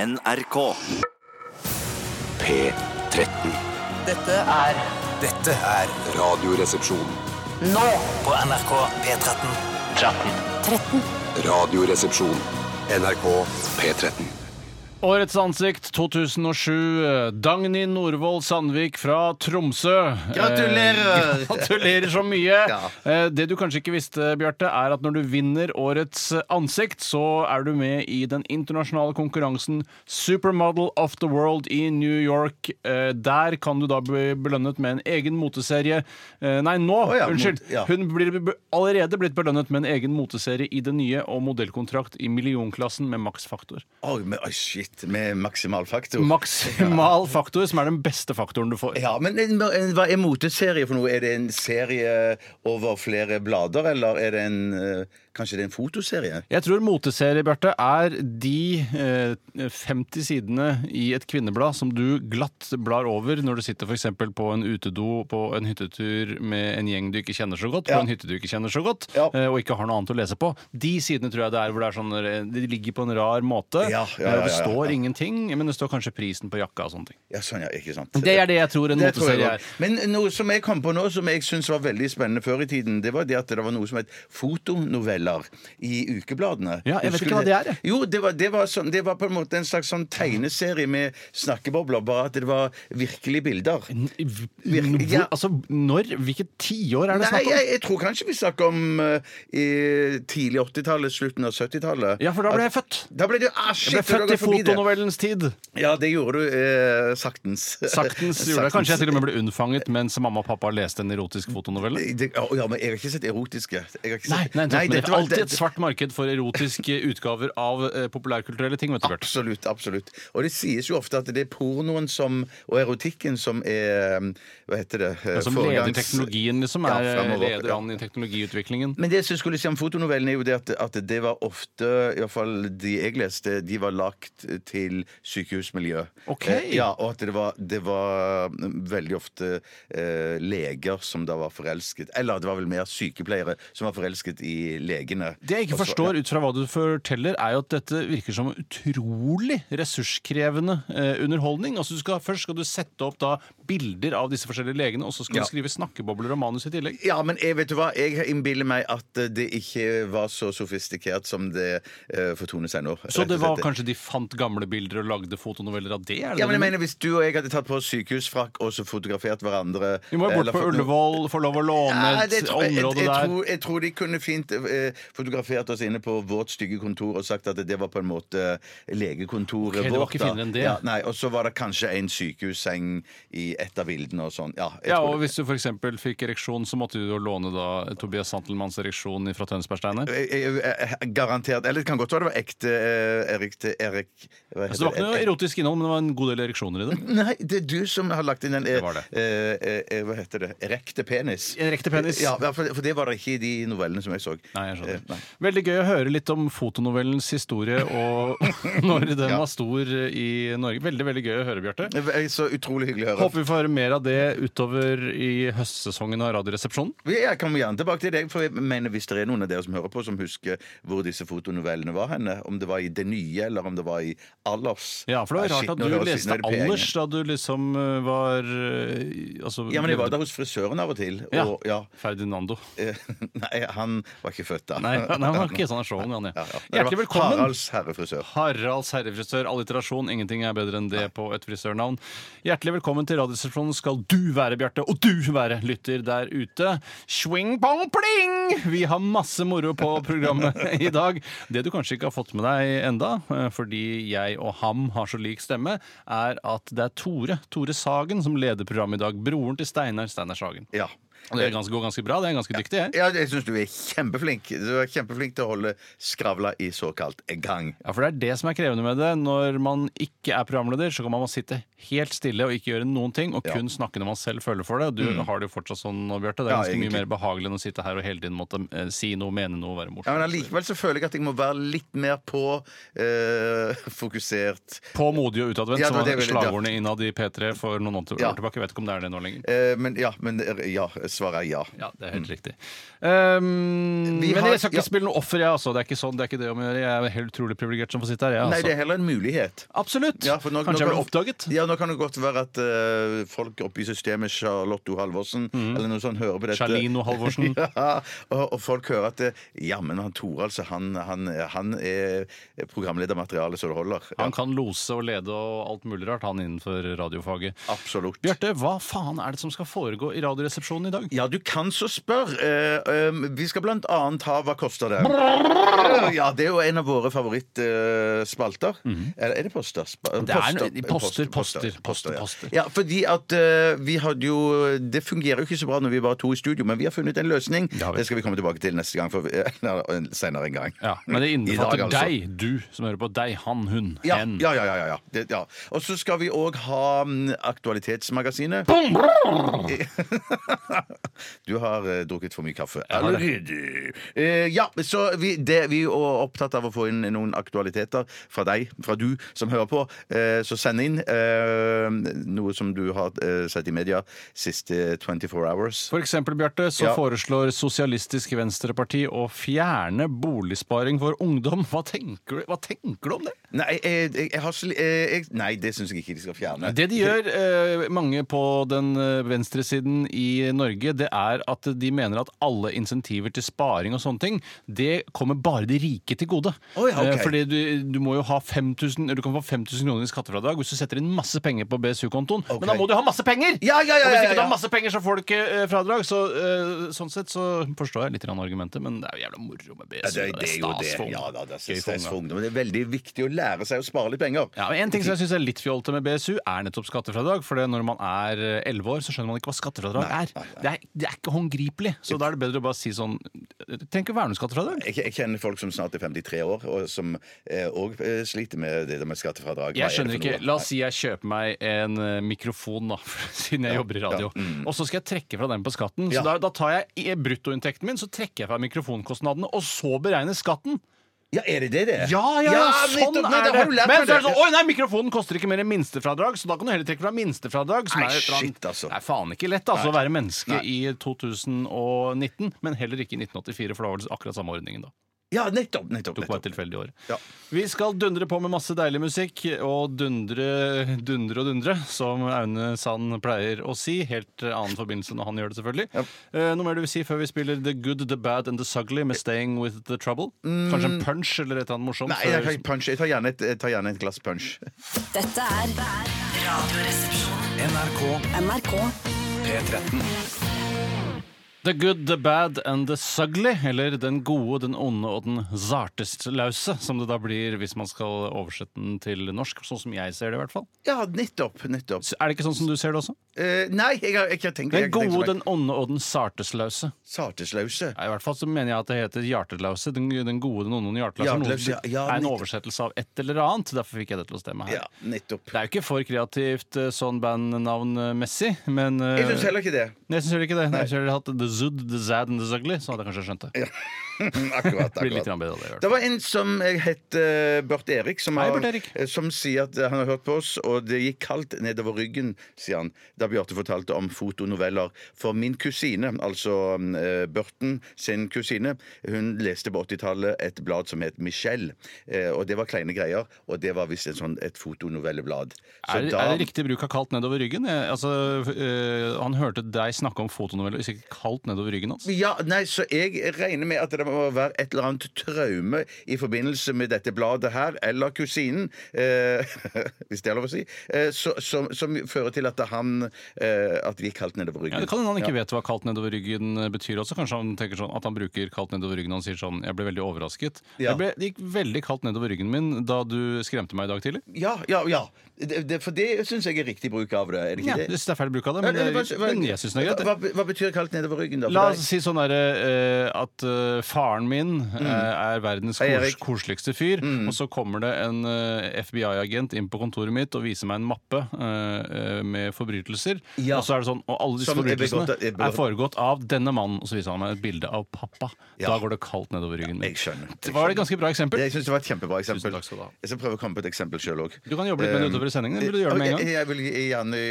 NRK. P13. Dette er Dette er Radioresepsjon. nå på NRK P13. Radioresepsjon. NRK P13. Årets ansikt 2007. Dagny Norvoll Sandvik fra Tromsø. Gratulerer! Eh, gratulerer så mye. Eh, det du kanskje ikke visste, Bjarte, er at når du vinner Årets ansikt, så er du med i den internasjonale konkurransen Supermodel of the World i New York. Eh, der kan du da bli belønnet med en egen moteserie. Eh, nei, nå! Å ja, unnskyld. mot- ja. Hun blir be- allerede blitt belønnet med en egen moteserie i det nye, og modellkontrakt i millionklassen med maksfaktor. Oi, men, oi, shit, med maksimal faktor. Maksimal faktor, som er den beste faktoren du får. ja, men en- en- Hva er moteserie for noe? Er det en serie over flere blader, eller er det en eh, Kanskje det er en fotoserie? Jeg tror moteserie, Bjarte, er de eh, 50 sidene i et kvinneblad som du glatt blar over når du sitter f.eks. på en utedo på en hyttetur med en gjeng du ikke kjenner så godt, Ja. på en hytte du ikke kjenner så godt, Ja. eh, og ikke har noe annet å lese på. De sidene tror jeg det er hvor det er sånn eh, De ligger på en rar måte. Ja, ja, ja, Eh, Det ja, ja. står ingenting, men det står kanskje prisen på jakka og sånne ting. Ja, sånn, ja, ikke sant Det er det jeg tror en Det tror jeg moteserie også. er. Men noe som jeg kom på nå, som jeg syns var veldig spennende før i tiden, det var det at det var noe som het fotonoveller i ukebladene. Ja, jeg vet Husker ikke hva du det er, jeg. Jo, det var, det, var sånn, det var på en måte en slags sånn tegneserie med snakkebobler, bare at det var virkelige bilder. Hvor, ja. altså, når? Hvilket tiår er det Nei, snakk om? jeg, jeg tror kanskje vi snakker om eh, i tidlig 80-tallet, slutten av 70-tallet. Ja, for da ble jeg født. Da ble du ah, shit, Jeg ble du født går i forbi det. fotonovellens tid. Ja, det gjorde du eh, saktens. Saktens gjorde jeg. Kanskje jeg til Saktens. og med ble unnfanget mens mamma og pappa leste en erotisk fotonovelle. det, å, ja, men jeg har ikke sett erotiske. Jeg har ikke Nei, sett- nei, nei, men det dette er var- alltid et det- svart marked for erotiske utgaver av eh, populærkulturelle ting. vet du, Bjørn. Absolutt. absolutt Og det sies jo ofte at det er pornoen som, og erotikken som er Hva heter det? eh, Som Altså, foregangs- leder teknologien, liksom. Ja, Er, fremover. leder Ja. an i teknologiutviklingen. Men det som jeg skulle si om fotonovellene, er jo det at, at det var ofte, i hvert fall de jeg leste, de var lagt til sykehusmiljø. Ok. Eh, Ja, Og at det var, det var mm, veldig ofte eh, leger som da var forelsket Eller det var vel mer sykepleiere som var forelsket i legene. Det jeg ikke Og så- forstår altså, ja. ut fra hva du forteller, er jo at dette virker som utrolig ressurskrevende eh, underholdning. Altså du skal, Først skal du sette opp da bilder av disse forskjellige legene, og så skal Ja. du skrive snakkebobler og manus i tillegg. Ja, men jeg vet du hva, jeg innbiller meg at eh, det ikke var så sofistikert som det eh, fortoner seg nå. Så rett og det slett. var kanskje de fant gamle bilder og lagde fotonoveller av det? Er det ja, men det jeg du mener Hvis du og jeg hadde tatt på oss sykehusfrakk og så fotografert hverandre eh, Vi må jo bort eller på fått noe- Ullevål, få lov å låne Nei, et det tror jeg- jeg, område jeg, der. Tror, jeg tror de kunne fint eh, fotografert oss inne på vårt stygge kontor og sagt at det var på en måte legekontoret Ok, det var vårt. ikke da. finere enn det. Ja, nei, og så var det kanskje en sykehusseng i et av bildene og sånn. Ja, jeg Ja, tror og det. hvis du f.eks. fikk ereksjon, så måtte du jo låne da Tobias Santelmanns ereksjon fra Tønsbergsteiner. Jeg- jeg- jeg- jeg- eh, Garantert. Eller det kan godt være det var ekte eh, Erik til Erik hva Altså, det var ikke noe det? erotisk innhold, men det var en god del ereksjoner i det. Nei, det er du som har lagt inn den eh, Det var det. eh, eh, Hva heter det? Erekte penis. Erekte penis. Ja, for, for det var det ikke i de novellene som jeg så. Nei, jeg Eh, nei. skjønner. Veldig gøy å høre litt om fotonovellens historie og når den Ja. var stor i Norge. Veldig, veldig gøy å høre, Bjarte. Det er Eh, Så utrolig hyggelig å høre. Håper vi får høre mer av det utover i høstsesongen av Radioresepsjonen. Vi- Jeg kommer gjerne tilbake til deg, for jeg mener hvis det er noen av dere som hører på, som husker hvor disse fotonovellene var henne, om det var i Det nye, eller om det var i Allers Ja, for det var Ah, rart shit, at nå du er det- nå leste er det P1 igjen. Allers da du liksom eh, var eh, altså, Ja, men jeg var levde- der hos frisøren av og til. Ja. Og, ja. Ferdinando. eh, Nei, han var ikke født da. Nei, nei, han var ikke sånn showen, han, Ja, ja. ja. Det Hjertelig var velkommen. Haralds herrefrisør. Haralds herrefrisør, alliterasjon, ingenting er bedre enn det på et frisørnavn. Hjertelig velkommen til Radioresepsjonen skal du være, Bjarte, og du være lytter der ute. Swing pong pling! Vi har masse moro på programmet i dag. Det du kanskje ikke har fått med deg enda, eh, fordi jeg og ham har så lik stemme, er at det er Tore, Tore Sagen, som leder programmet i dag. Broren til Steinar, Steinar Sagen. Ja. Og det er ganske, går ganske bra, det er ganske dyktig, jeg. Ja, jeg syns du er kjempeflink. Du er kjempeflink til å holde skravla i såkalt gang. Ja, for det er det som er krevende med det. Når man ikke er programleder, så kan man sitte helt stille og ikke gjøre noen ting, og Ja. Mm. kun snakke når man selv føler for det. Og Du har det jo fortsatt sånn nå, Bjarte. Det er Ja, ganske mye egentlig. mer behagelig enn å sitte her og hele tiden måtte eh, si noe, mene noe, være Ja, morsom. men allikevel så føler jeg at jeg må være litt mer på, eh, fokusert. På modig og utadvendt, Ja, det som var var det jeg ville- slagordene innad i P3 for noen år til- Ja. år tilbake. Jeg vet ikke om det er det nå lenger. Eh, men ja, men ja, svaret er ja. Ja, det er helt riktig. Um, Vi men har- jeg skal ikke ja. spille noe offer, jeg, altså. Det er ikke sånn, det er ikke det om å gjøre. Jeg er helt utrolig privilegert som får sitte her, jeg, Nei, altså. det er heller en mulighet. Absolutt! Ja, for nå- nå Kanskje jeg kan- ble oppdaget? Ja, nå kan det godt være at eh, folk oppe i systemet, Charlotte O. Halvorsen Mhm. eller noe sånt, hører på dette. Charlino Halvorsen. Ja, og, og folk hører at det, ja, men han Tore, altså, han, han, han er programledermaterialet så det holder. Ja, Han kan lose og lede og alt mulig rart, han innenfor radiofaget. absolutt. Bjarte, hva faen er det som skal foregå i Radioresepsjonen i dag? Ja, du kan så spørre. Eh, eh, vi skal blant annet ha Hva koster det? Ja, Det er jo en av våre favorittspalter. Eller er det poster? Spa- Mhm. Det er poster, en- poster, poster, ja. poster. Ja, fordi at eh, vi hadde jo Det fungerer jo ikke så bra når vi er bare to i studio, men vi har funnet en løsning. har vi. Det skal vi komme tilbake til neste gang. For, eller senere en gang. Ja, men det I dag, innbefatter altså. deg, du som hører på. Deg, han, hun, Ja, hen. ja, ja, ja, ja, ja. Det, ja. Og så skal vi òg ha mm, Aktualitetsmagasinet. du har eh, drukket for mye kaffe. har det. Allerede. Eh, ja, så vi, det, vi er jo opptatt av å få inn noen aktualiteter fra deg, fra du som hører på. Eh, så send inn eh, noe som du har eh, sett i media siste 24 hours. For eksempel, Bjarte, så Ja. foreslår Sosialistisk Venstreparti å fjerne boligsparing for ungdom. Hva tenker du, hva tenker du om det? Nei, jeg, jeg, jeg har så li- eh, jeg, nei, det syns jeg ikke de skal fjerne. Det de gjør, eh, mange på den eh, venstresiden i Norge, det er at de mener at alle insentiver til sparing og sånne ting, det kommer bare de rike til gode. Å ja, ok. Eh, Fordi du, du må jo ha 5000 eller Du kan få 5000 kroner i skattefradrag hvis du setter inn masse penger på BSU-kontoen. Ok. Men da må du ha masse penger! Ja, ja, ja, Og hvis ja, ikke du ja. har masse penger, så får du ikke eh, fradrag. Så, eh, sånn sett så forstår jeg litt grann argumentet, men det er jo jævla moro med BSU. Ja, det, og det er jo det. stas for ungdom. Ja, da, det er Gøy for stress for ungdom. ungdom. Men Det er veldig viktig å lære seg å spare litt penger. Ja, men En ting som jeg syns er litt fjolte med BSU, er nettopp skattefradrag. For det når man er eh, elleve år, så skjønner man ikke hva skattefradrag er. Det er, det er ikke håndgripelig. Så da er det bedre å bare si sånn Det trenger ikke være noe skattefradrag. Jeg, jeg kjenner folk som snart er 53 år, og som òg sliter med det der med skattefradrag. Hva er Jeg det skjønner for ikke. noe? La oss si jeg kjøper meg en eh, mikrofon, da, siden jeg jobber i radio. Og så skal jeg trekke fra den på skatten. Så mm. Ja. da, da tar jeg i bruttoinntekten min, så trekker jeg fra mikrofonkostnadene, og så beregnes skatten. Ja, er det det det er? Ja, ja, ja, sånn nettopp. Nei, er da det! har du lært Men meg så er det sånn, oi nei, mikrofonen koster ikke mer enn minstefradrag, så da kan du heller trekke fra minstefradrag. Som Nei, er et eller shit, annet- altså. Det er faen ikke lett altså, å være menneske Nei. i 2019, men heller ikke i 1984, for da var det akkurat samme ordningen da. Ja, nettopp. nettopp, Tok bare et nettopp. tilfeldig år. Ja. Vi skal dundre på med masse deilig musikk, og dundre, dundre og dundre, som Aune Sand pleier å si. Helt eh, annen forbindelse når han gjør det, selvfølgelig. Eh, noe mer du vil si før vi spiller The Good, The Bad and The Sugly med Staying With The Trouble? Kanskje en punch eller et eller annet morsomt? Mm. Nei, jeg, før- tar punch. jeg tar gjerne et, jeg tar gjerne et glass punch. Dette er Radioresepsjonen. NRK NRK P13. The good, the bad and the sugly, eller Den gode, den onde og den zartestlause, som det da blir hvis man skal oversette den til norsk, sånn som jeg ser det i hvert fall. Ja, nettopp. nettopp. Så Er det ikke sånn som du ser det også? Eh, nei, jeg har jeg har ikke tenkt Den jeg har ikke tenkt gode, så den langt. onde og den sarteslause. Sarteslause. Ja, I hvert fall så mener jeg at det heter hjartelause. Den, den gode, den onde og den hjartelause. Noe Hjertelause, ja, som ja, er en nettopp. oversettelse av et eller annet. Derfor fikk jeg det til å stemme her. Ja, nettopp. Det er jo ikke for kreativt eh, sånn bandnavnmessig, men eh, Jeg syns heller ikke det. Nei, jeg syns heller ikke det. Hvis jeg hadde hatt The Zood, The Zad and The Sugly, så hadde jeg kanskje skjønt det. Akkurat. Det blir litt akkurat. grann bedre av det. i hvert fall. Det var en som het eh, Børte Erik, som, Hei, har, Børte Erik. eh, som sier at eh, han har hørt på oss, og det gikk kaldt nedover ryggen, sier han, da Bjarte fortalte om fotonoveller. For min kusine, altså eh, Børten sin kusine, hun leste på 80-tallet et blad som het Michelle, eh, og det var kleine greier, og det var visst et sånn, et fotonovelleblad. Så Er, da- er det riktig bruk av kaldt nedover ryggen? Jeg, altså, øh, han hørte deg snakke om fotonoveller og ikke kaldt nedover ryggen hans. Ja, nei, så jeg regner med at det må være et eller annet traume i forbindelse med dette bladet her, eller kusinen, eh, hvis det er lov å si, eh, så, som, som fører til at han eh, At vi er kalt nedover Ja, ryggen. det kan hende han ikke vet hva kaldt nedover ryggen eh, betyr også. Kanskje han tenker sånn at han bruker kaldt nedover ryggen og han sier sånn Jeg ble veldig overrasket. Ja. Jeg ble, det gikk veldig kaldt nedover ryggen min da du skremte meg i dag tidlig. Ja, ja, ja. Det, det, for det syns jeg er riktig bruk av det. Er det Ja, ikke jeg det? synes det er feil bruk av det, men, Hva- jeg- hva- men jeg syns det er greit. Hva, hva betyr kaldt nedover ryggen, da? for La deg? oss si sånn derre eh, at eh, faren min eh, er verdens Mm. Hei, kos Erik. Mm. koseligste fyr. Og så kommer det en eh, FBI-agent inn på kontoret mitt og viser meg en mappe eh, eh, med forbrytelser. Ja. Og så er det sånn, og alle disse Som er forbrytelsene begått av- er er, begått- foregått av denne mannen. Og så viser han meg et bilde av pappa. Da går det kaldt nedover ryggen min. Jeg skjønner. Jeg Det var et skjønner. ganske bra eksempel. Jeg syns det var et kjempebra eksempel. Tusen takk skal du ha. Jeg skal prøve å komme på et eksempel sjøl òg. Du kan jobbe litt med det utover i sendingen, eller vil du gjøre det med en gang? Jeg, jeg vil gjerne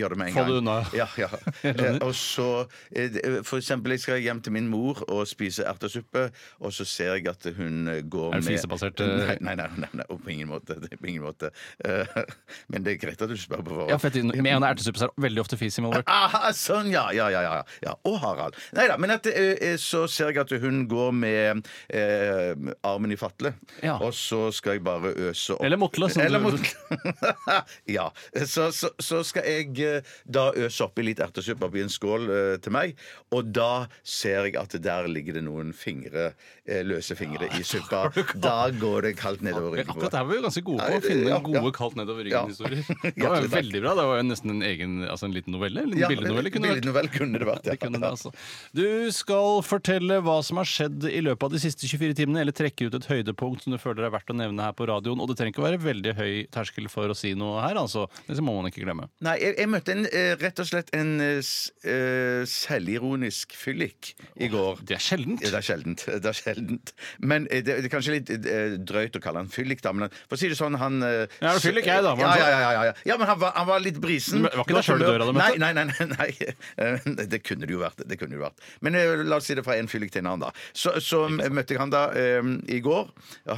gjøre det med en Få gang. det unna. Ja, ja. skjønner. Eh, Og så eh, For eksempel, jeg skal hjem til min mor og spise ertesuppe, og så ser jeg at hun eh, går Er det med fisebasert, eh? Nei, nei, nei, nei, nei, på ingen måte. Det er På ingen måte. Eh, Men det er greit at du spør på forhånd. Ja, fett inn. Med en ertesuppe så er det veldig ofte fis involvert. Aha, sånn, ja, ja, ja, ja, ja. Og Harald. Nei da, men at, eh, så ser jeg at hun går med eh, armen i fatle. Ja. Og så skal jeg bare øse opp Eller motle, som Eller du- motle. ja. Så, så, så skal jeg eh, da øse oppi litt ertesuppe oppi en skål eh, til meg. Og da ser jeg at der ligger det noen fingre, eh, løse fingre i suppa. Da går det kaldt nedover Men ryggen. på akkurat det meg. her var vi jo ganske gode på Nei, å finne ja, gode ja. kaldt nedover Ja. ryggen-historier. Det var jo Hjertelig takk. veldig bra. Det var jo nesten en egen, altså en liten novelle. En Ja, liten billednovelle kunne det vært. billednovelle kunne det vært. Ja. Det kunne det, altså. Du skal fortelle hva som har skjedd i løpet av de siste 24 timene, eller trekke ut et høydepunkt som du føler er verdt å nevne her på radioen. Og det trenger ikke være veldig høy terskel for å si noe her, altså. Det må man ikke glemme. Nei, jeg, jeg møtte en, eh, rett og slett en eh, s- eh, selvironisk fyllik i går. Det er sjeldent. Ja, det er sjeldent. Det er sjeldent. Men eh, det, det er kanskje litt eh, drøyt å kalle han fyllik, da. Men han- for å si det sånn, han eh, Ja, er du fyllik, jeg, da? Var Ja, han ja, ja, ja, ja. ja men han var, han var litt brisen. Men var ikke det selv du døra du Nei, møtte? nei, nei. nei, nei. Eh, Det kunne det jo vært. Det kunne det jo vært. Men eh, la oss si det fra en fyllik til en annen, da. Så, så møtte jeg han da eh, i går.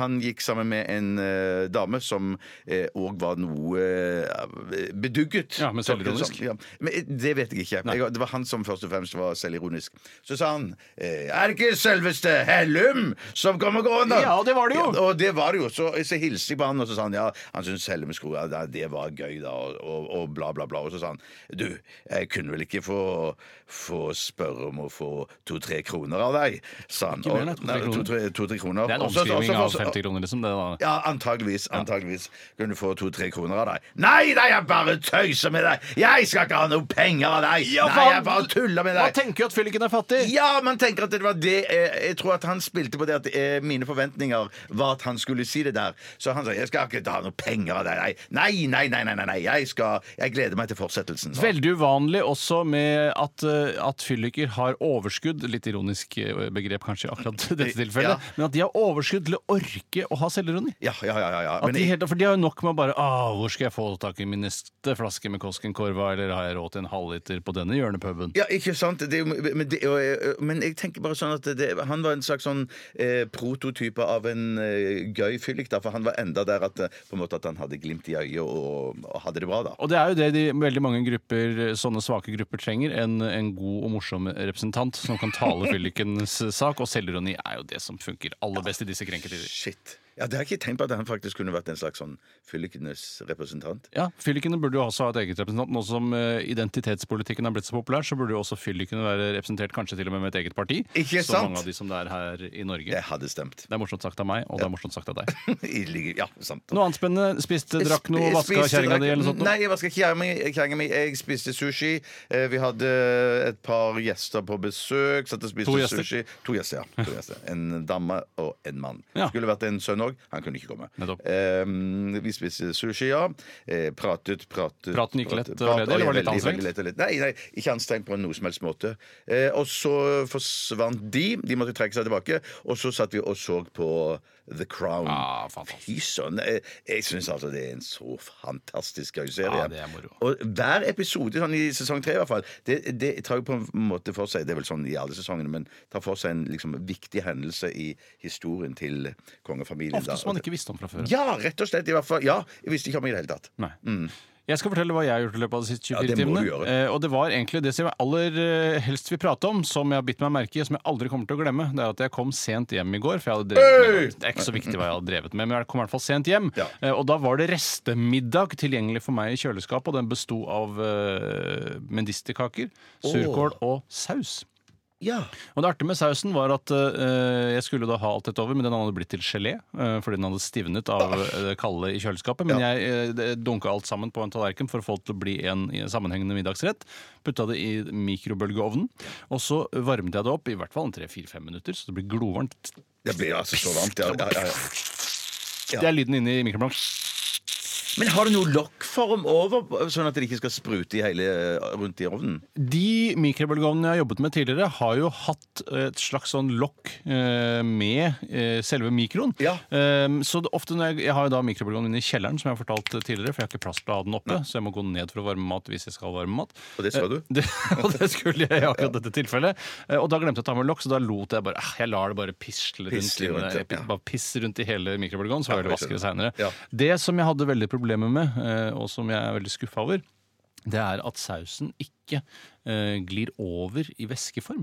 Han gikk sammen med en eh, dame som òg var noe eh, bedugget. Ja, men selvironisk. Ja, men eh, Det vet jeg ikke. Jeg, det var han som først og fremst var selvironisk. Så sa han eh, Er det ikke selveste Hellum som kommer gående? Ja, det var det jo. Ja, og det var det jo. Så, så hilste jeg på han, og så sa han ja, han syntes Hellum skulle ja, det- Det var gøy, da, og, og, og bla, bla, bla. Og så sa han du, jeg kunne vel ikke få, få spørre om å få to-tre kroner av deg, sa han. Ikke mer, nei, Og- to-tre kroner. to-tre- to-tre kroner. Det er en Og så- omskriving og så- av og så- 50 kroner, liksom. Det, da. ja, antageligvis. antageligvis Kunne du få to-tre kroner av deg. Nei, nei, jeg bare tøyser med deg! Jeg skal ikke ha noe penger av deg! Ja, nei, faen! jeg bare tuller med Man deg! tenker jo at fylliken er fattig! Ja, man tenker at det var det eh, Jeg tror at han spilte på det at eh, mine forventninger var at han skulle si det der. Så han sa 'Jeg skal ikke ta noe penger av deg'. Nei, nei, nei, nei, nei, nei. Jeg, skal, jeg gleder meg til fortsettelsen. Veldig uvanlig også med at, eh, at fylliker har overskudd. Litt ironisk eh, begrep kanskje i akkurat dette tilfellet. Ja. Men at de har overskudd til å orke å ha selvironi. Ja, ja, ja, ja, ja. At Men de jeg- helt, for de har jo nok med å bare ah, 'Hvor skal jeg få tak i min neste flaske med Koskenkorva?' Eller 'Har jeg råd til en halvliter på denne hjørnepuben?' Ja, ikke sant? Det, er jo- men, det, og, eh, men jeg tenker bare sånn at det, han var en slags sånn eh, prototype av en eh, gøy fyllik, da, for han var enda der at, eh, på en måte at han hadde glimt i øyet og, og hadde det bra, da. Og det er jo det de, veldig mange grupper, sånne svake grupper trenger. En, en god og morsom representant som kan tale fyllikens sak. Og selvironi er jo det som funker aller best i disse krenketider. Shit. Ja, Det har jeg ikke tenkt på at han faktisk kunne vært en slags sånn fyllikenes representant. Ja, Fyllikene burde jo også ha et eget representant. Nå som eh, identitetspolitikken har blitt så populær, så burde jo også fyllikene være representert kanskje til og med med et eget parti. Ikke så sant? mange av de som det er her i Norge. Jeg hadde stemt. Det er morsomt sagt av meg, og det er morsomt sagt av deg. I ligge- ja, sant. Noe annet spennende? Spiste, drakk noe, vaska Spiste, kjerringa drakk- di, eller noe sånt? noe? Nei, jeg vaska kjerringa mi- kjerringa mi. Jeg spiste sushi. Eh, Vi hadde et par gjester på besøk. Satt og spiste To gjester? sushi. To gjester, ja. To gjester. En dame og en mann. Ja. Skulle vært en sønn òg. Han kunne ikke komme. Nettopp. Eh, vi spiste sushi, ja. Eh, pratet, pratet Praten gikk lett og pratet. ledig, eller var det litt Veldig, anstrengt? veldig lett og lett. Nei, nei, ikke anstrengt på noe som helst måte. Eh, og så forsvant de. De måtte trekke seg tilbake. Og så satt vi og så på The Crown. Ah, fantastisk. Fy søren. Jeg, jeg syns altså det er en så fantastisk gøy serie. Ja, det er moro. Og hver episode sånn i sesong tre i hvert fall, det, det tar jo på en måte for seg Det er vel sånn i alle sesongene, men tar for seg en liksom, viktig hendelse i historien til kongefamilien. Ofte som man ikke visste om fra før. Ja, rett og slett. I hvert fall, ja, jeg visste ikke om det i det hele tatt. Nei. Jeg skal fortelle hva jeg har gjort i løpet av de siste 24 Ja, det må timene. du gjøre. Eh, og det var egentlig det som jeg aller eh, helst vil prate om, som jeg har bitt meg merke i, og som jeg aldri kommer til å glemme. Det er at jeg kom sent hjem i går. For jeg hadde drevet med, det er ikke så viktig hva jeg hadde drevet med, men jeg kom i hvert fall sent hjem. Ja. Eh, og da var det restemiddag tilgjengelig for meg i kjøleskapet, og den besto av eh, medisterkaker, surkål og saus. Ja. Og det artige med sausen var at eh, jeg skulle da ha alt dette over, men den hadde blitt til gelé eh, fordi den hadde stivnet av eh, det kalde i kjøleskapet. Men jeg eh, det- dunka alt sammen på en tallerken for å få det til å bli en i- sammenhengende middagsrett. Putta det i mikrobølgeovnen, og så varmet jeg det opp i hvert fall en tre-fire-fem minutter, så det blir glovarmt. Det blir altså så varmt. Ja, ja, ja, ja. Ja. Det er lyden inni mikrofonen. Men har du noe lokkform over, sånn at det ikke skal sprute i hele, rundt i ovnen? De mikrobølgeovnene jeg har jobbet med tidligere, har jo hatt et slags sånn lokk eh, med eh, selve mikroen. Ja. Eh, Så det- ofte når jeg, jeg har jo da mikrobølgeovnen inne i kjelleren, som jeg har fortalt eh, tidligere, for jeg har ikke plass til å ha den oppe, så jeg må gå ned for å varme mat hvis jeg skal varme mat. Og det skal du? Eh, Det, og det skulle jeg i akkurat dette tilfellet. Eh, Og da glemte jeg å ta med lokk, så da lot jeg bare eh, Jeg lar det bare pisle rundt, Pisle inne- rundt, ja. pi- Bare pisse rundt i hele mikrobølgeovnen, så var det jeg vaskere skjønner. seinere. Ja. Det som jeg hadde veldig problemer med, eh, og som jeg er veldig skuffa over, det er at sausen ikke eh, glir over i væskeform.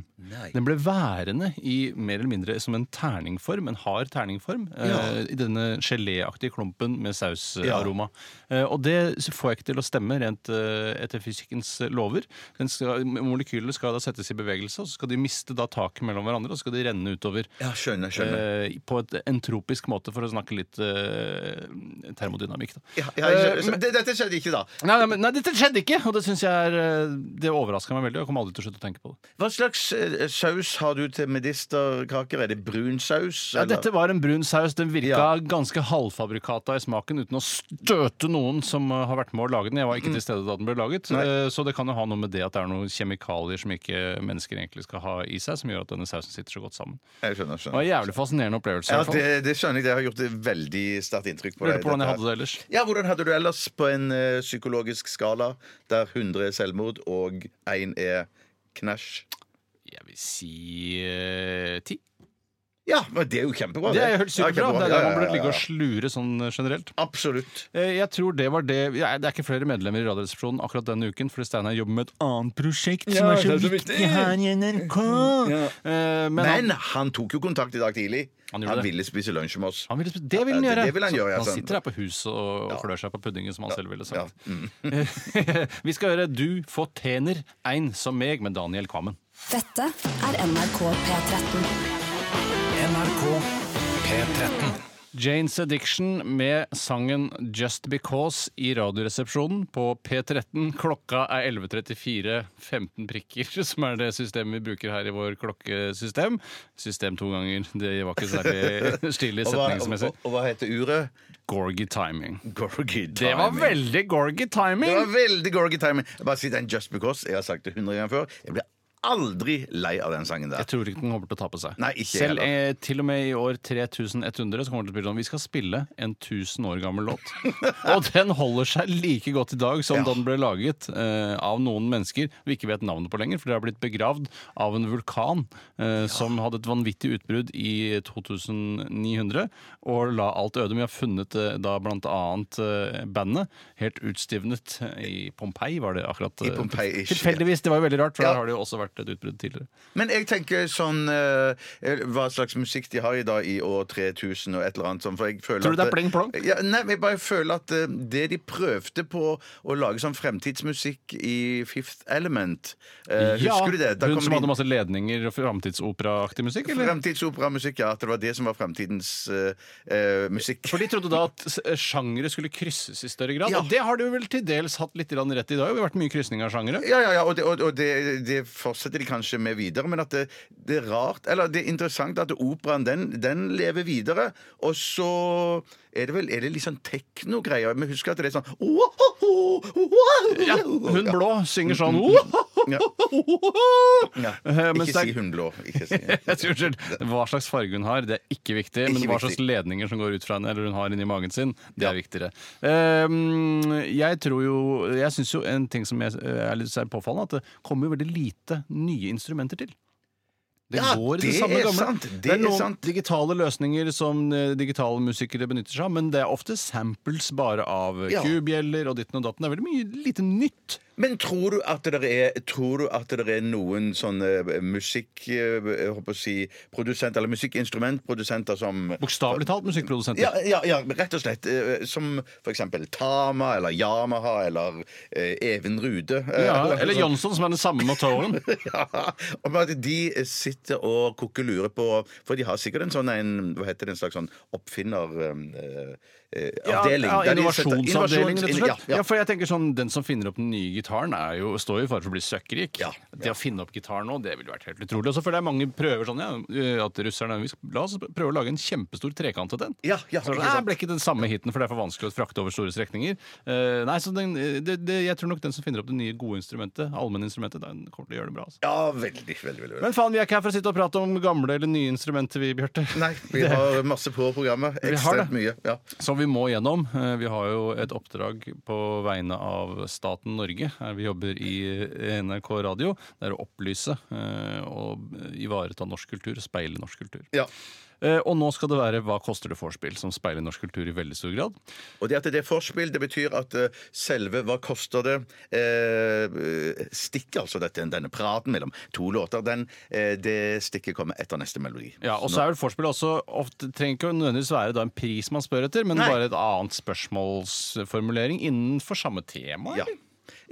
Den ble værende i mer eller mindre som en terningform, en hard terningform, eh, i denne geléaktige klumpen med sausaroma. Eh, og det får jeg ikke til å stemme rent eh, etter fysikkens lover. Den skal, molekylene skal da settes i bevegelse, og så skal de miste da taket mellom hverandre, og så skal de renne utover. Ja, skjønner, skjønner. eh, På et entropisk måte, for å snakke litt eh, termodynamikk. Da. Ja, ja, eh, jeg skjønner. Det- Dette skjedde ikke, da. Nei, nei, men, nei, dette skjedde ikke! Og det synes jeg er, eh, det overraska meg veldig. og Jeg kommer aldri til å slutte å tenke på det. Hva slags eh, saus har du til medisterkaker? Er det brun saus? Ja, eller? dette var en brun saus. Den virka Ja. ganske halvfabrikata i smaken uten å støte noen som eh, har vært med å lage den. Jeg var Mm. ikke til stede da den ble laget, eh, så det kan jo ha noe med det at det er noen kjemikalier som ikke mennesker egentlig skal ha i seg, som gjør at denne sausen sitter så godt sammen. Jeg skjønner, Det var skjønner. en jævlig fascinerende opplevelse. i Ja, hvert fall. det, det skjønner jeg. Det har gjort et veldig sterkt inntrykk på deg. Lurer på hvordan jeg dette hadde her. det ellers. Ja, Hvordan hadde du ellers på en eh, psykologisk skala der 100 er selvmord og 1 er knæsj? Jeg vil si eh, ti. Ja, men det er jo kjempebra. Det er jo helt Ja, superbra. kjempebra. Det er der man Ja, burde ja, ligge og ja. slure sånn eh, generelt. Absolutt. Eh, Jeg tror det var det Nei, Det er ikke flere medlemmer i Radioresepsjonen akkurat denne uken, fordi Steinar jobber med et annet prosjekt som er så, viktig her i NRK. Eh, Men, Mm-hmm. Men han, han tok jo kontakt i dag tidlig. Han Han, gjorde det. ville spise lunsj med oss. han vil, det vil han Ja, det- gjøre. det vil han Så gjøre, ja, han sant. sitter her på huset og og klør seg på puddingen, som han selv ville sagt. Ja. Mm. Vi skal høre Du fortjener ein som meg med Daniel Kvammen. Dette er NRK P13. Janes Addiction med sangen Just Because i Radioresepsjonen på P13. Klokka er 11.34. 15 prikker, som er det systemet vi bruker her i vår klokkesystem. System to ganger. Det var ikke særlig stilig Og, hva, og, setningsmessig. og, og hva heter uret? Gorgy timing. Gorgy timing. Det var veldig gorgy Det var timing! veldig gorgy timing. Jeg bare si den Just Because. Jeg har sagt det 100 ganger før. Jeg blir aldri lei av den sangen der. Jeg tror ikke den kommer til å ta på seg. Nei, ikke Selv heller. eh, til og med i år 3100 så kommer den til å spille sånn Vi skal spille en 1000 år gammel låt. og den holder seg like godt i dag som Ja. da den ble laget eh, av noen mennesker vi ikke vet navnet på lenger, for det har blitt begravd av en vulkan eh, som hadde et vanvittig utbrudd i 2900 og la alt øde. Vi har funnet eh, da blant annet eh, bandet helt utstivnet eh, i Pompeii, var det akkurat. I eh, Pompeii, ikke- Tilfeldigvis. Det var jo veldig rart, for Ja. der har det jo også vært et utbrudd tidligere. Men jeg tenker sånn eh, Hva slags musikk de har i dag i år 3000 og et eller annet sånn, for jeg føler Tror du det at- er pling-plong? Ja, nei, men jeg bare føler at eh, det de prøvde på å lage sånn fremtidsmusikk i Fifth Element eh, Husker du det? Da Hun kom som de- hadde masse ledninger og framtidsoperaaktig musikk, eller? Fremtidsoperamusikk, ja. At det var det som var fremtidens eh, eh, musikk. For de trodde da at s- sjangere skulle krysses i større grad. Ja. Og det har du vel til dels hatt litt grann rett i. Det har jo vært mye krysning av sjangere. Ja, ja, ja, og, det, og, og det, det fortsetter de kanskje med videre, men at det, det er rart Eller det er interessant at operaen, den, den lever videre. Og så er det vel er det litt sånn teknogreier. Men husk at det er sånn «Ohoho, ohoho». Ja, hun blå synger sånn Mm, Ja. Ja. Eh, mens det Ikke si er- hun blå. Ikke si. Unnskyld. Hva slags farge hun har, det er ikke viktig. Men Ikke hva viktig. slags ledninger som går ut fra henne, eller hun har inni magen sin, det er viktigere. Ehm, jeg tror jo Jeg syns jo en ting som jeg, eh, er litt særlig påfallende, at det kommer jo veldig lite nye instrumenter til. Det Ja, går i det, det samme er gamle. sant, det er er noen sant. digitale løsninger som eh, digitale musikere benytter seg av, eh, men det er ofte samples bare av Ja. kubjeller og ditten og datten. Det er veldig mye lite nytt. Men tror du at det er, tror du at det er noen sånne musikk... eh, Jeg håper å si produsenter, eller musikkinstrumentprodusenter som Bokstavelig talt musikkprodusenter. ja, ja, ja, rett og slett. eh, Som for eksempel Tama eller Yamaha eller eh, Even Rude. eh, Ja, noe eller sånt. Johnson, som er den samme motoren. Ja, om at de sitter og kokkelurer på For de har sikkert en sånn en, hva heter det, en slags sånn eh, oppfinneravdeling. Ja, ja, Innovasjonsavdeling, rett og slett. Ja, Ja, ja. for jeg tenker sånn, Den som finner opp den nye gitaren, er jo, står jo i fare for å bli søkkrik. Ja. Det å finne opp gitar nå, det ville vært helt utrolig. Og så føler jeg mange prøver sånn, ja, at russerne vi skal- La oss prøve å lage en kjempestor trekantet en. Ja, ja, så, ikke nei, sant. ble ikke den samme hiten, for det er for vanskelig å frakte over store strekninger. Eh, nei, så den, eh, det, det, Jeg tror nok den som finner opp det nye gode instrumentet, allmenninstrumentet, den kommer til å gjøre det bra. Altså. ja, veldig, veldig, veldig. Men faen, vi er ikke her for å sitte og prate om gamle eller nye instrumenter, vi, Bjarte. Nei, vi har masse på programmet. Vi har det. Ekstremt mye. Ja. som vi må gjennom. Eh, Vi har jo et oppdrag på vegne av staten Norge. her Vi jobber i NRK Radio. Det er å opplyse eh, og ivareta norsk kultur, speile norsk kultur. Ja. Eh, Og nå skal det være Hva koster det vorspiel, som speiler norsk kultur i veldig stor grad. Og det at det er forspill, det betyr at eh, selve Hva koster det? Eh, eh, stikket, altså dette, denne praten mellom to låter, den, eh, det stikket kommer etter neste melodi. Ja, og så er vel vorspiel også ofte, trenger ikke nødvendigvis være da en pris man spør etter, men Nei. bare et annet spørsmålsformulering innenfor samme tema. Ja. eller?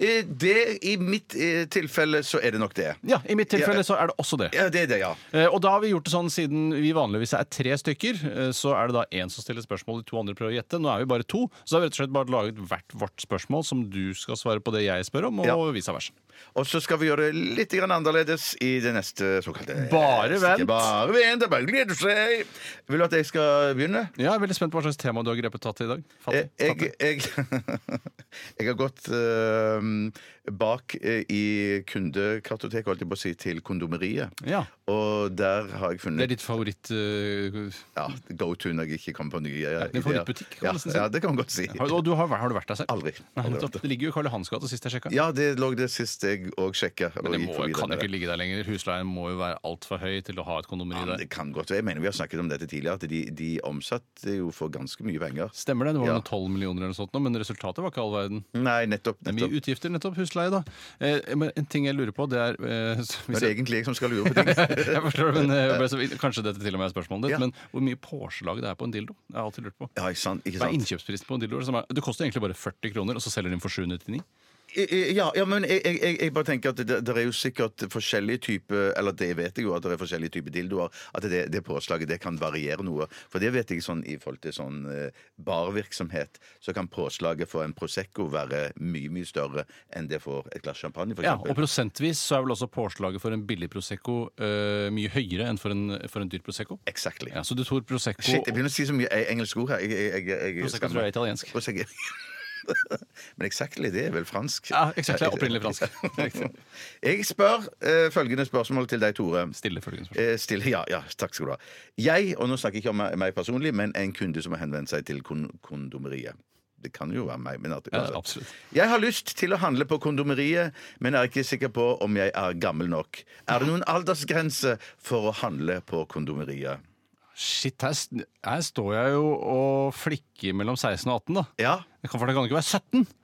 Eh, Det, I mitt eh, tilfelle så er det nok det. ja, I mitt tilfelle Ja. så er det også det. Ja, det er det, ja. Eh, Og da har vi gjort det sånn Siden vi vanligvis er tre stykker, eh, så er det da én som stiller spørsmål, de to andre prøver å gjette. Nå er vi bare to, så da har vi rett og slett bare laget hvert vårt spørsmål, som du skal svare på det jeg spør om, og Ja. vice versa. Og så skal vi gjøre det litt grann annerledes i det neste såkalte Bare stikket. vent. Bare vent, det bare gleder seg! Vil du at jeg skal begynne? Ja, jeg er veldig spent på hva slags tema du har grepet tatt i i dag. Fatt, Jeg, jeg, jeg, jeg har gått eh, bak eh, i kundekartoteket, holdt jeg på å si, til kondomeriet. Ja. Og der har jeg Det er funnet ditt favoritt... eh, ja, go to når jeg ikke kommer på nye eh, ideer. din favorittbutikk, kan man ja, nesten si. ja, det kan man godt si. har, og du har, har du vært der selv? Aldri. Nei, Aldri nettopp. vært der. det ligger jo i Karl Johans gate sist jeg sjekka. Ja, det lå det sist jeg òg sjekka. Men det må, kan jo ikke ligge der lenger. Husleien må jo være altfor høy til å ha et kondomeri Ja, der. det kan godt være. Jeg mener, Vi har snakket om dette tidligere, at de, de omsatte jo for ganske mye penger. Stemmer det? Det var Ja. noe 12 millioner eller noe sånt, nå, men resultatet var ikke all verden. Nei, nettopp. Det er mye nettopp. utgifter, nettopp husleie, da. Eh, men en ting jeg lurer på, det er eh, s- Det hvis er jeg, egentlig jeg som skal lure på ting. jeg forstår, men, eh, bare så- Kanskje dette til og med er spørsmålet ditt, Ja. men hvor mye påslag det er på en dildo? Jeg har alltid lurt på. Ja, ikke sant? Ikke Hva er sant? innkjøpsprisen på en dildo? Som er, det koster egentlig bare 40 kroner, og så selger de den for 799? I- i- Ja, ja, men jeg, jeg- jeg, jeg bare tenker at det, det er jo sikkert forskjellige typer Eller det vet jeg jo at det er forskjellige typer dildoer. At det, det påslaget det kan variere noe. For det vet jeg sånn i forhold til sånn eh, barvirksomhet, så kan påslaget for en Prosecco være mye, mye større enn det for et glass champagne, for Ja, og eksempel. prosentvis så er vel også påslaget for en billig Prosecco eh, mye høyere enn for en, for en dyr Prosecco? Exactly. Ja, så du tror Prosecco Shit, jeg begynner å si så mye e- engelske ord her. Jeg, jeg, jeg, jeg, Prosecco tror jeg er italiensk. Prosecco. Men exactly, det er vel fransk? Ja, exactly er opprinnelig fransk. Riktig. jeg spør eh, følgende spørsmål til deg, Tore. Stille følgende spørsmål. Eh, stille, ja, ja, takk skal du ha. Jeg, og nå snakker jeg ikke om meg- meg personlig, men en kunde som har henvendt seg til kon kondomeriet. Det kan jo være meg. Men at, altså, Ja, absolutt. Jeg har lyst til å handle på kondomeriet, men er ikke sikker på om jeg er gammel nok. Er det noen aldersgrense for å handle på kondomeriet? Shit, her, s- her står jeg jo og flikker mellom 16 og 18, da. Ja. Det kan, for det kan ikke være 17.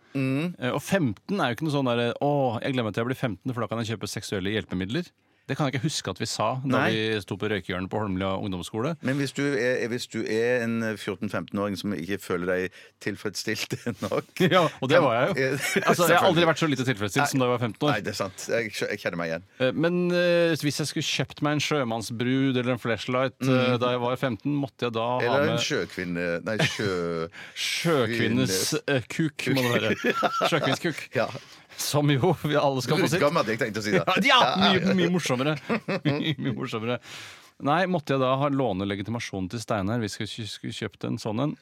Eh, Og 15 er jo ikke noe sånn der Å, jeg glemmer at jeg blir 15, for da kan jeg kjøpe seksuelle hjelpemidler. Det kan jeg ikke huske at vi sa da Nei. vi sto på røykehjørnet på Holmlia ungdomsskole. Men hvis du er, hvis du er en 14-15-åring som ikke føler deg tilfredsstilt nok Ja, og det var jeg jo. Altså, Jeg har aldri vært så lite tilfredsstilt som da jeg var 15 Nei, år. det er sant. Jeg, skjø- jeg kjenner meg igjen. Eh, Men eh, hvis jeg skulle kjøpt meg en sjømannsbrud eller en flashlight eh, da jeg var 15, måtte jeg da ha Mm. Eller en med sjøkvinne Nei, sjø... sjøkvinnes eh, kuk, må det være. Sjøkvinnens kuk. Ja. Som jo vi alle skal få sitt. Brudgom hadde jeg tenkt å si. Ja, da ja mye, mye morsommere. Mye, mye morsommere. Nei, måtte jeg da ha låne legitimasjonen til Steinar hvis jeg skulle- skulle kjøpt en sånn en?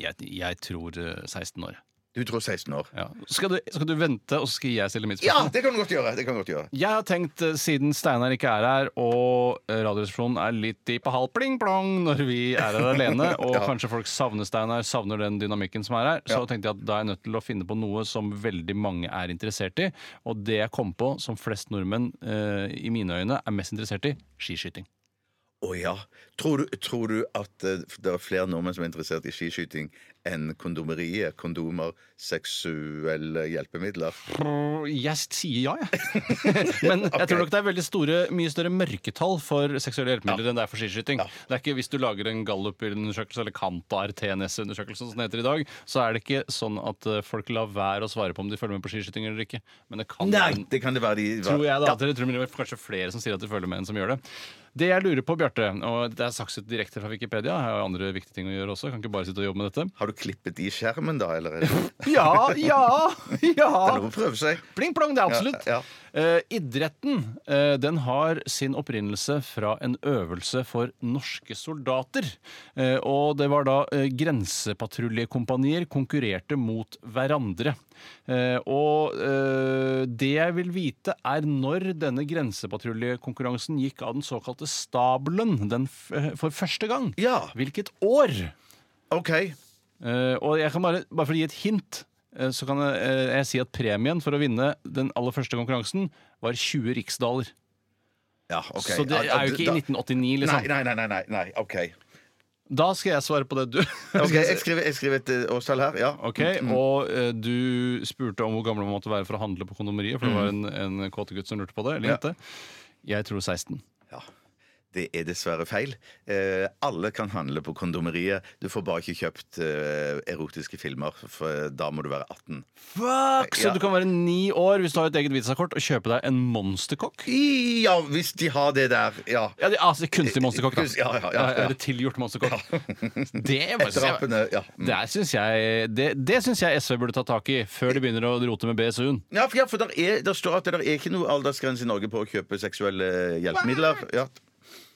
Jeg, jeg tror eh, 16 år. Du tror 16 år. Ja. Skal, du, skal du vente, og så skal jeg stille mitt Ja, spørsmål? det kan du godt gjøre. Det kan du godt gjøre. Jeg har tenkt, eh, siden Steinar ikke er her, og eh, Radioresepsjonen er litt i på halv pling-plong når vi er her alene, og kanskje folk savner Steinar, savner den dynamikken som er her, så tenkte jeg at da er jeg nødt til å finne på noe som veldig mange er interessert i. Og det jeg kom på, som flest nordmenn eh, i mine øyne er mest interessert i, skiskyting. Å ja. Tror du, tror du at eh, det er flere nordmenn som er interessert i skiskyting enn kondomeriet? Kondomer, seksuelle hjelpemidler? Jeg sier ja, jeg. Men jeg tror nok det er veldig store, mye større mørketall for seksuelle hjelpemidler enn det er for skiskyting. Det er ikke Hvis du lager en Gallup-undersøkelse eller Kanta RTNS-undersøkelsen som det heter i dag, så er det ikke sånn at eh, folk lar være å svare på om de følger med på skiskyting eller ikke. Men det kan Nei, det kan det være de tror jeg da at det- tror det er kanskje flere som sier at de følger med enn som gjør det. Det jeg lurer på, Bjarte, og det er sakset direkte fra Wikipedia, jeg har jo andre viktige ting å gjøre også, jeg kan ikke bare sitte og jobbe med dette. Har du klippet i skjermen, da? Eller er det det Ja, ja, er ja! lov å prøve seg? Pling plong, det er absolutt. Ja, Eh, idretten eh, den har sin opprinnelse fra en øvelse for norske soldater. Eh, og det var da eh, grensepatruljekompanier konkurrerte mot hverandre. Eh, og eh, det jeg vil vite, er når denne grensepatruljekonkurransen gikk av den såkalte stabelen den f for første gang. Ja. Hvilket år? OK. Eh, og jeg kan bare, bare for å gi et hint, eh, så kan jeg, eh, jeg si at premien for å vinne den aller første konkurransen var 20 riksdaler. Ja, ok. Så det Ja, er jo ikke da- i 1989, liksom. Nei, nei, nei, nei, nei, nei. OK. Da skal jeg svare på det du Ok, Jeg skriver, jeg skriver et eh, årstall her. Ja. Ok, Og eh, du spurte om hvor gammel man måtte være for å handle på kondomeriet, for det var en, en kåtegutt som lurte på det. Eller Ja. jente. Jeg tror 16. Ja. Det er dessverre feil. Eh, alle kan handle på kondomeriet. Du får bare ikke kjøpt eh, erotiske filmer, for da må du være 18. Fuck! Så Ja. du kan være ni år hvis du har et eget visakort, og kjøpe deg en monsterkokk? Ja, hvis de har det der, ja. Ja, det, altså Kunstig monsterkokk, da. Kunst- ja, ja, ja, ja. Eller tilgjort monsterkokk. Det var Drapene, ja. Mm. Det syns jeg, det, det synes jeg SV burde ta tak i før de begynner å rote med BSU-en. Ja, for, ja, for der, er, der står at det der er ikke noe aldersgrense i Norge på å kjøpe seksuelle hjelpemidler. Ja.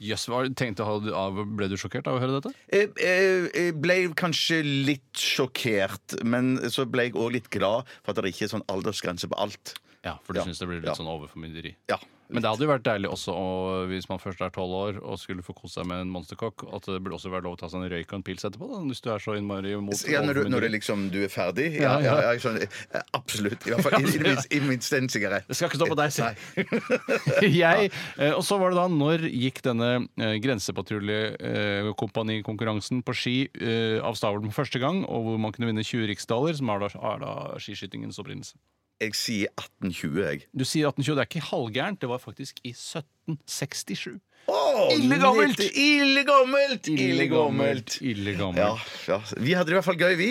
Jøss, hva tenkte du av- Ble du sjokkert av å høre dette? Jeg, jeg, Eh, jeg ble kanskje litt sjokkert, men så ble jeg òg litt glad for at det ikke er sånn aldersgrense på alt. Ja, for du Ja. syns det blir litt Ja. sånn overformynderi. Ja. Men det hadde jo vært deilig også å- hvis man først er tolv år og skulle få kose seg med en monsterkokk, at det burde også være lov å ta seg en røyk og en pils etterpå, da, hvis du er så innmari imot Ja, når, du, når overformynderi. det liksom du er ferdig? Ja, ja, ja, jeg skjønner. Eh, Absolutt. I hvert fall i, i, det minste- i det minste en sigarett. Det skal ikke stå på deg, si. Jeg, eh, og så var det da når gikk denne eh, grensepatruljekompanikonkurransen på ski eh, av stabelen for første gang, og hvor man kunne vinne 20 riksdaler, som er da, er da skiskytingens opprinnelse. Jeg sier 1820, jeg. Du sier 1820, det er ikke halvgærent. Det var faktisk i 1767. Oh, Illegammelt! Illegammelt! Illegammelt! Ja, Illegammelt. ja. Vi hadde det i hvert fall gøy, vi.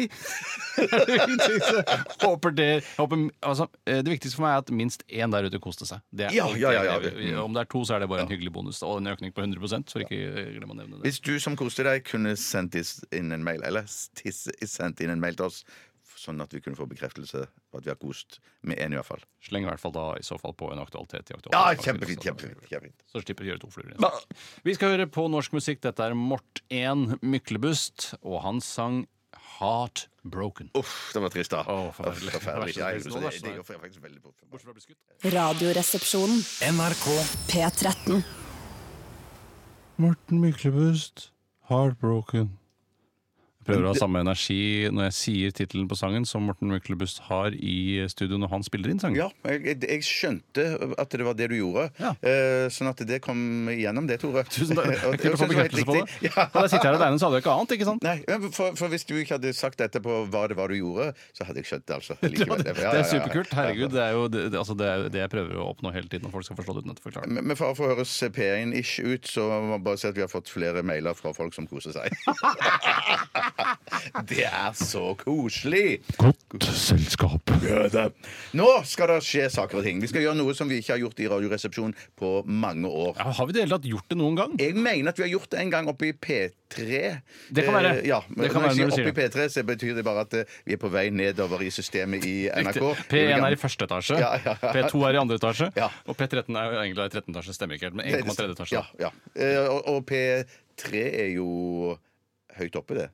håper det, håper, altså, eh, det viktigste for meg er at minst én der ute koste seg. Det er Ja, alltid- ja, ja, Mm. ja. det- Om det er to, så er det bare en hyggelig bonus. Og en økning på 100 for ikke eh, glem å nevne det. Hvis du som koste deg, kunne sendt is- inn en mail Eller tis- sendt inn en mail til oss, sånn at vi kunne få bekreftelse på at vi har kost med én, i hvert fall. Sleng i hvert fall da i så fall på en aktualitet. i aktualitet. Ja, kjempefint, kjempefint, kjempefint. Så slipper du å gjøre to fluer i en smekk. Vi skal høre på norsk musikk. Dette er Mort 1 Myklebust, og han sang Heart Broken. Uff, det var trist, da. Å, forferdelig. Uff, forferdelig. Det Ja, er jeg, så trist. det, Nå, vær så det snill. går jeg faktisk veldig bort. Bortsett fra å bli skutt. Radioresepsjonen. NRK P13. Morten Myklebust, 'Heartbroken'. Jeg prøver å ha samme energi når jeg sier tittelen på sangen som Morten Myklebust har i studio når han spiller inn sangen. Ja, jeg, jeg- jeg skjønte at det var det du gjorde, Ja. Eh, sånn at det kom igjennom det, Tore. Tusen takk. Og- Kult å få og synes det var helt bekreftelse på det. riktig. Hadde jeg sittet her alene, så hadde jeg ikke ant. ikke sant? Nei, men for, for hvis du ikke hadde sagt dette på hva det var du gjorde, så hadde jeg skjønt det altså. Ja, likevel. det, Ja, det ja, er ja, ja. superkult. Herregud, det er jo det, det, altså det, er jo det jeg prøver å oppnå hele tiden. At folk skal forstå det uten at jeg forklarer det. Men men for å få høres P1-ish ut, så må jeg bare si at vi har fått flere mailer fra folk som koser seg. det er så koselig! Godt selskap. Glede. Nå skal det skje saker og ting. Vi skal gjøre noe som vi ikke har gjort i Radioresepsjonen på mange år. Ja, har vi i det hele tatt gjort det noen gang? Jeg mener at vi har gjort det en gang oppe i P3. Det kan være. Eh, ja, Det men kan når være jeg når du sier oppe i sier P3, så betyr det bare at eh, vi er på vei nedover i systemet i NRK. P1 er i første etasje, Ja, ja, ja. P2 er i andre etasje, Ja. og P13 er jo egentlig i 13. etasje. Stemmer ikke helt, men 1,3 etasje. Ja, ja. Eh, Og, og P3 er jo høyt oppe, det.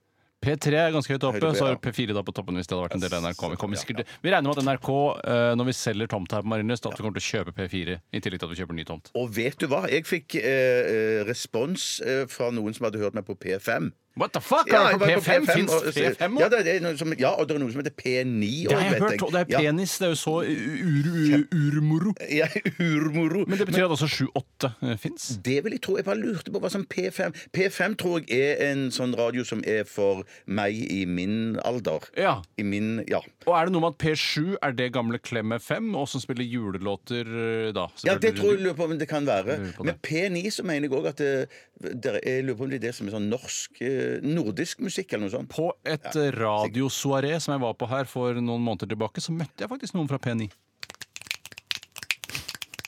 P3 er ganske høyt oppe, Høyt oppe, så er ja. P4 da på toppen hvis det hadde vært en del av NRK. Vi, kommer Ja, sikkert, vi regner med at NRK, eh, når vi selger tomta her på Marienlyst, at vi kommer til å kjøpe P4 i tillegg til at vi kjøper ny tomt. Og vet du hva? Jeg fikk eh, eh, respons eh, fra noen som hadde hørt meg på P5. What the fuck? er Ja, jeg det på var på P5 P5, fins og- P5 ja, òg? det er- det er noe som- ja, og det er noe som heter P9 òg, Det har jeg hørt. Og det er penis. Det er jo så ur- ur- urmoro. Ja, urmoro. Men det betyr at også eh, 7-8 fins? Det vil jeg tro. Jeg bare lurte på hva som P5 P5 tror jeg er en sånn radio som er for meg i min alder. Ja. I min Ja. Og er det noe med at P7 er det gamle Klemme 5, og som spiller julelåter eh, da? Ja, det selvfølgelig. tror jeg lurer på om det kan være. lurer på Men det. P9 så mener jeg òg at det, der, Jeg lurer på om det er det som er sånn norsk eh, Nordisk musikk eller noe sånt. På et eh, radiosoaré som jeg var på her for noen måneder tilbake, så møtte jeg faktisk noen fra P9.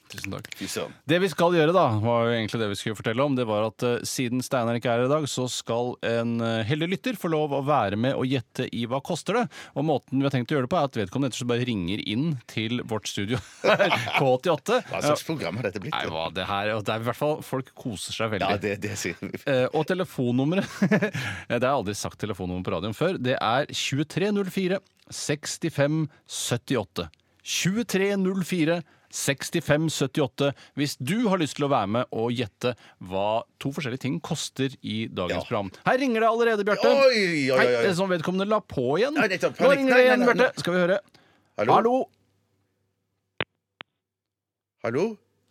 Tusen takk. Fy søren. Det vi skal gjøre, da, var jo egentlig det vi skulle fortelle om. Det var at eh, siden Steinar ikke er her i dag, så skal en eh, heldig lytter få lov å være med og gjette i Hva koster det? Og måten vi har tenkt å gjøre det på, er at vedkommende rett og slett bare ringer inn til vårt studio K88. Hva slags program har dette blitt? Nei, hva det her og Det er i hvert fall Folk koser seg veldig. Ja, det, det sier vi. Eh, og telefonnummeret Det har jeg aldri sagt telefonnummer på radioen før. Det er 2304 6578. 2304 6578 hvis du har lyst til å være med og gjette hva to forskjellige ting koster i dagens Ja. program. Her ringer det allerede, Bjarte. Oi, oi, oi, oi. Hei, eh, Som vedkommende la på igjen. Nei, nettopp. Nå Panikk. ringer Nei, det nei, igjen, nei, Bjarte. Skal vi høre. Hallo? Hallo! Hallo?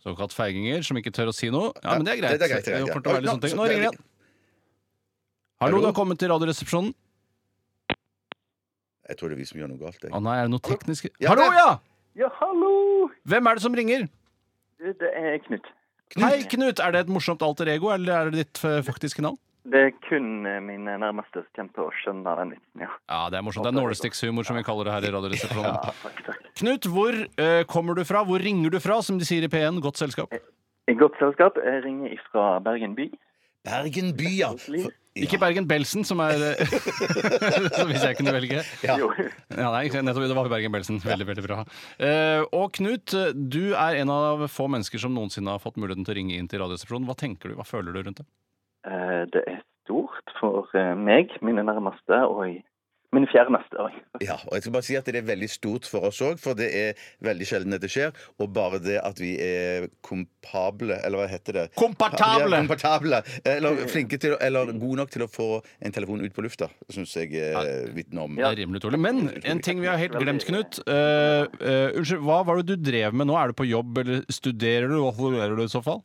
Såkalt feiginger som ikke tør å si noe. Ja, men det er greit. Det er greit, det Det er greit, er jo fort å ja. være litt Oi, sånne ting. nå- Nå ringer det igjen. Hallo, Hallo? du har kommet til Radioresepsjonen. Jeg tror det er vi som gjør noe galt. Jeg. Å nei, er det noe teknisk Ja, Hallo, det- ja! Ja, hallo! Hvem er det som ringer? Du, Det er Knut. Hei, Knut. Er det et morsomt alter ego, eller er det ditt eh, faktiske navn? Det er kun eh, mine nærmeste som kommer til å skjønne den vitsen, ja. Ja, det er morsomt. Det er nålestikkshumor, som vi kaller det her i Radioresepsjonen. ja takk, takk. Knut, hvor eh, kommer du fra? Hvor ringer du fra, som de sier i P1? Godt selskap. I godt selskap. Jeg ringer ifra Bergen by. Bergen by, ja. For, ja. Ikke Bergen-Belsen, som er eh, Som hvis jeg kunne velge. Ja. Jo. Ja, nei, nettopp, Det var Bergen-Belsen. Veldig, veldig bra. Eh, og Knut, eh, du er en av få mennesker som noensinne har fått muligheten til å ringe inn til Radioresepsjonen. Hva tenker du, hva føler du rundt det? Eh, Det er stort for eh, meg, mine nærmeste og mine fjerneste. Oi. Ja, og jeg skal bare si at Det er veldig stort for oss òg, for det er veldig sjelden dette skjer. Og bare det at vi er kompable, eller hva heter det? Kompatable! Ja, kompatable Eller flinke til å- Eller gode nok til å få en telefon ut på lufta, syns jeg eh, vitner om. Det er rimelig utrolig. Men en ting vi har helt glemt, Knut. Eh, eh, unnskyld, hva var det du drev med nå? Er du på jobb, eller studerer du? Hva studerer du i så fall?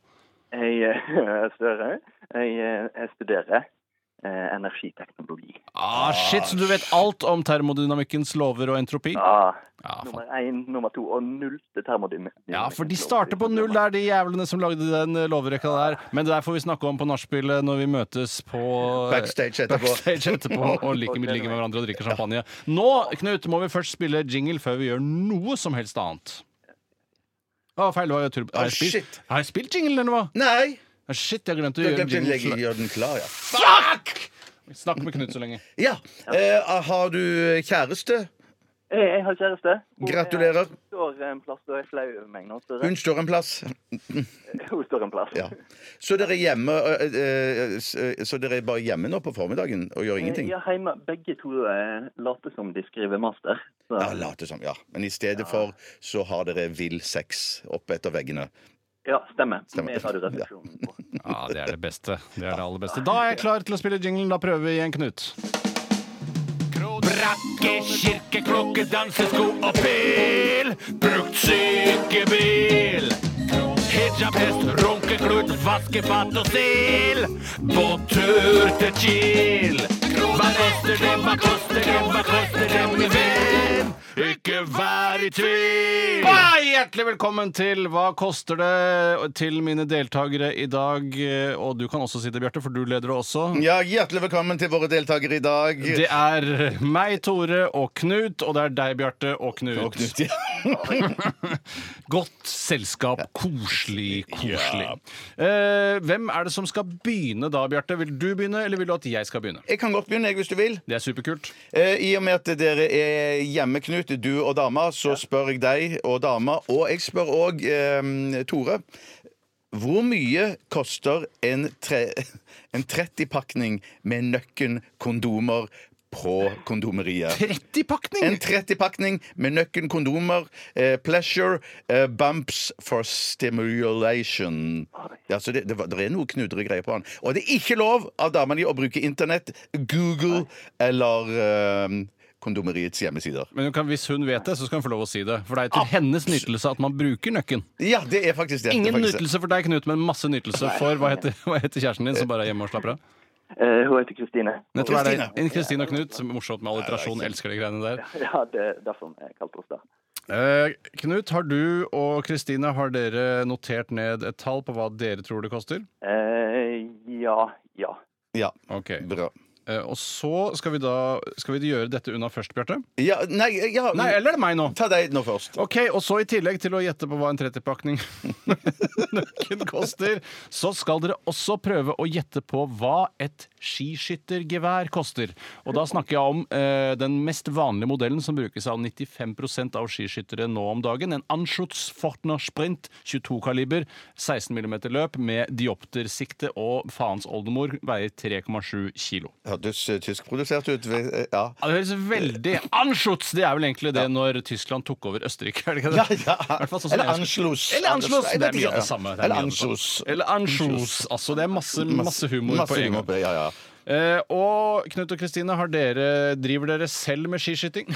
Jeg eh, Støre, jeg, eh, jeg studerer eh, energiteknologi. Ah, shit, så du vet alt om termodynamikkens lover og entropi? Ja, Ja, Ah, faen. nummer én, nummer to og nullte termodynamikk. Ja, for de starter på null der, de jævlene som lagde den eh, lovrekka der. Men det der får vi snakke om på nachspielet når vi møtes på eh, Backstage etterpå. backstage etterpå og ligger, ligger med hverandre og drikker champagne. Nå, Knut, må vi først spille jingle før vi gjør noe som helst annet. Å, feil. det var jo turbo- Å, Har jeg spilt, shit. har jeg spilt jingle, eller hva? Nei! Ah, Shit, jeg glemte å Du gjøre glemte å jingle. legge- gjøre den klar, ja. Fuck! Snakk med Knut så lenge. ja. Eh, har du kjæreste? Jeg, jeg har kjæreste. Hun er- Gratulerer. står en plass og er flau over meg nå. Støre. Hun står en plass. Hun står en plass. Ja. Så dere er hjemme eh, eh, s- eh, Så dere er bare hjemme nå på formiddagen og gjør ingenting? Eh, Ja, hjemme, begge to eh, later som de skriver master. Så, Ja, late som, ja. Men i stedet for så har dere vill sex oppe etter veggene. ja, stemmer. Stemmer. Med Radioresepsjonen på. Ja, det er det beste. Det er det aller beste. Da er jeg klar til å spille jinglen. Da prøver vi igjen, Knut. Brakke, kirke, klokke, dansesko og pil. Brukt sykebil. Hijab, hest, runkeklut, vaskefat og stil. Båttur til Kiel. Hva koster det, hva koster det, hva koster det, min venn? Ikke vær i tvil! hjertelig velkommen til Hva koster det? til mine deltakere i dag. eh, Og du kan også sitte, Bjarte, for du leder også. Ja, Hjertelig velkommen til våre deltakere i dag. Det er meg, Tore, og Knut, og det er deg, Bjarte, og Knut. Og Knut, ja. Godt selskap. Koselig, koselig. Eh, hvem er det som skal begynne da, Bjarte? Vil du begynne, eller vil du at jeg skal begynne? Jeg kan godt begynne, jeg, hvis du vil. Det er superkult. Eh, I og med at dere er hjemme, Knut, du og dama, så spør jeg deg og dama, og jeg spør òg eh, Tore. Hvor mye koster en, tre, en 30-pakning med nøkken kondomer på kondomeriet. 30-pakning! En 30-pakning med nøkken kondomer, eh, pleasure, eh, bumps for stimulation. Ja, så det, det, var, det er noe knudregreier på han. Og det er ikke lov av damene å bruke internett, Google eller eh, kondomeriets hjemmesider. Men hun kan, hvis hun vet det, så skal hun få lov å si det. For det er til hennes nytelse at man bruker nøkken. Ja, det er faktisk det. Ingen det er faktisk det. nytelse for deg, Knut, men masse nytelse for hva heter, hva heter kjæresten din som bare er hjemme og slapper av? Eh, hun heter Kristine. Nettopp er det Kristine. en Kristine og Knut. som er Morsomt med alliterasjon. Elsker de greiene der. Ja, det er derfor vi kalte oss det. Eh, Knut, har du og Kristine har dere notert ned et tall på hva dere tror det koster? Eh, ja, ja. Ja, Ok. bra. Eh, og så skal vi da Skal vi gjøre dette unna først, Bjarte? Ja, nei, ja, Nei, eller er det meg nå? Ta deg nå først. Ok, og så I tillegg til å gjette på hva en 30-pakning nøkken koster, så skal dere også prøve å gjette på hva et skiskyttergevær koster. Og Da snakker jeg om eh, den mest vanlige modellen som brukes av 95 av skiskyttere nå om dagen. En Anschutz Fortner Sprint 22-kaliber, 16 mm løp med dioptersikte og faens oldemor, veier 3,7 kilo. Hørtes eh, tyskprodusert ut. eh, Ja. Ja, det høres veldig Anschutz! Det er vel egentlig det når Tyskland tok over Østerrike. er det ikke det? Ja, ja. I hvert fall sånn som Eller jeg husker. Anschluss. Eller Anschluss! Jeg Det vet er mye ikke, av det ja. samme. Det er Eller mye av det samme. Anschluss. Eller Anschluss. Altså, det er masse, masse humor Masse på en humor gang. på det, ja, ja. Eh, og Knut og Kristine, har dere, driver dere selv med skiskyting?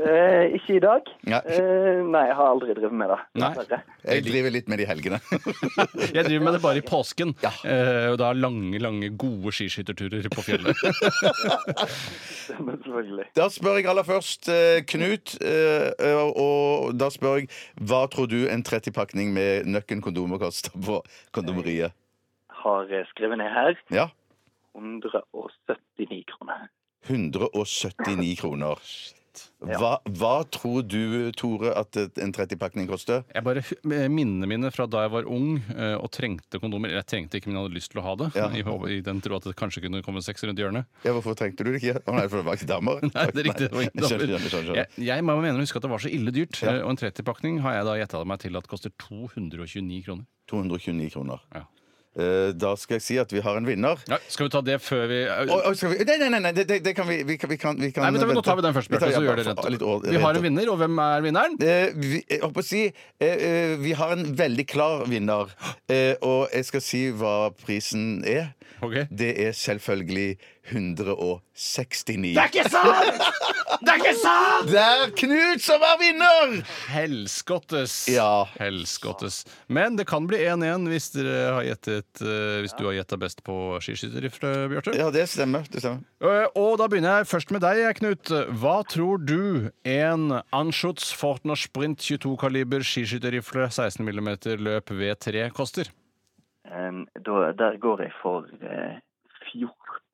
Eh, ikke i dag. Ja. Eh, nei, jeg har aldri drevet med det. Nei. dessverre. Jeg driver litt med det i helgene. Jeg driver med det bare i påsken. Ja. Eh, og da lange, lange, gode skiskytterturer på fjellet. Men selvfølgelig. Da spør jeg aller først eh, Knut, eh, og- og da spør jeg hva tror du en 30-pakning med nøkken kondomer koster på kondomeriet? Har eh, skrevet ned her Ja, 179 kroner. 179 kroner. Hva, hva tror du, Tore, at et- en 30-pakning koster? Jeg bare hu- Minnene mine fra da jeg var ung eh, og trengte kondomer Jeg trengte ikke, men jeg hadde lyst til å ha det. Ja. I, håp- I den tro at det kanskje kunne komme seks rundt hjørnet. Ja, hvorfor trengte du det ikke? Å nei, for det var ikke damer? Nei, det er riktig. Det var ingen Nei, skjønner, dommer. skjønner, skjønner, skjønner. Jeg, jeg må- mener å huske at det var så ille dyrt. eh, Og en 30-pakning har jeg da gjetta meg til at koster 229 kroner. 229 kroner. Ja. Eh, Da skal jeg si at vi har en vinner. Ja, skal vi ta det før vi Oi, oi, skal vi? Nei, nei, nei, nei det, det- det kan vi, vi, kan, vi, kan, vi kan Nei, men da, nå vente. tar vi den først, Vi tar- Bjarte. Så ja, gjør det for- litt å- rett. Vi har en vente. vinner, og hvem er vinneren? Eh, vi, jeg holdt på å si eh, eh, Vi har en veldig klar vinner. Eh, og jeg skal si hva prisen er. Ok. Det er selvfølgelig 169. ikke sant! Det er ikke sant! Det er Knut som er vinner! Helskottes. Ja. Helskottes. Men det kan bli 1-1 hvis, dere har gjettet, eh, hvis du har gjetta best på skiskytter, Bjarte. Ja, det stemmer. Det stemmer. Eh, Og da begynner jeg først med deg, Knut. Hva tror du en Anschutz Fortner Sprint 22-kaliber skiskytterrifle 16 mm løp V3 koster? Um, da, der går jeg for eh,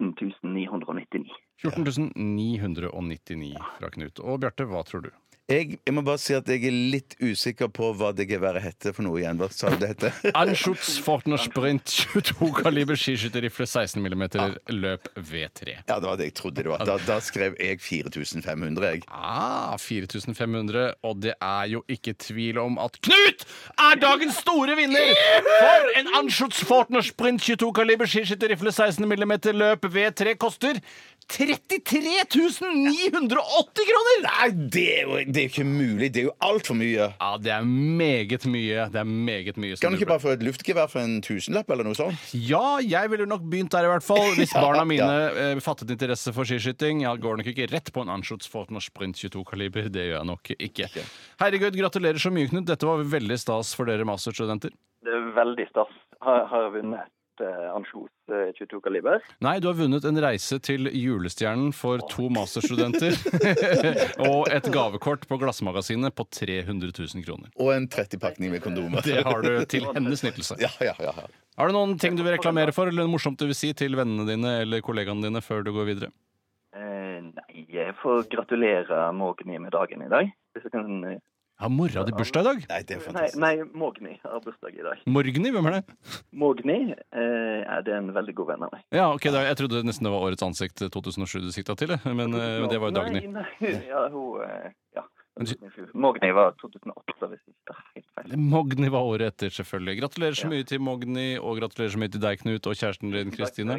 14.999. 14 999 fra Knut. Og Bjarte, hva tror du? Jeg, jeg må bare si at jeg er litt usikker på hva det geværet heter for noe igjen. Hva sa du det heter? Anschutz Fortner Sprint 22-kaliber skiskytterrifle 16 mm løp V3. Ja, det var det jeg trodde det var. Da, da skrev jeg 4500, jeg. Ah, 4500, og det er jo ikke tvil om at Knut er dagens store vinner! For en Anschutz Fortner Sprint 22-kaliber skiskytterrifle 16 mm løp V3 koster 33 980 kroner! Nei, det er jo det er jo ikke mulig. Det er jo altfor mye. Ja, det er meget mye. Det er meget mye. som Kan du ikke blir- bare få et luftgevær for en tusenlapp eller noe sånt? Ja, jeg ville nok begynt der, i hvert fall. Hvis Ja, barna mine ja. eh, fattet interesse for skiskyting. Jeg går nok ikke rett på en Anschutz Fortner Sprint 22-kaliber. Det gjør jeg nok ikke. Herregud, gratulerer så mye, Knut. Dette var veldig stas for dere masterstudenter. Det er veldig stas. Har, har jeg vunnet eh, Anschos eh, 22-kaliber? Nei, du har vunnet en reise til julestjernen for to masterstudenter. og et gavekort på Glassmagasinet på 300 000 kroner. Og en 30-pakning med kondomer. Det har du til hennes nyttelse. Ja, ja, ja. ja. Har du noen ting du vil reklamere for, eller noe morsomt du vil si til vennene dine eller kollegaene dine før du går videre? Eh, nei, jeg får gratulere Mogni med dagen i dag. Hvis jeg kan, eh, Har mora di bursdag i dag? Nei, det er nei, fantastisk. nei, Mogni har bursdag i dag. Morgny, hvem er det? Mogni eh, ja, det er en veldig god venn av meg. Ja, ok, da, Jeg trodde nesten det var Årets ansikt eh, 2007 du sikta til, jeg, men eh, det var jo Dagny. Nei, nei, ja, hun, eh, ja. Men du- 2007. Mogni var 2008, hvis jeg ikke tar helt feil. Mogni var året etter, selvfølgelig. Gratulerer så mye til Mogni, og gratulerer så mye til deg, Knut, og kjæresten din, Kristine.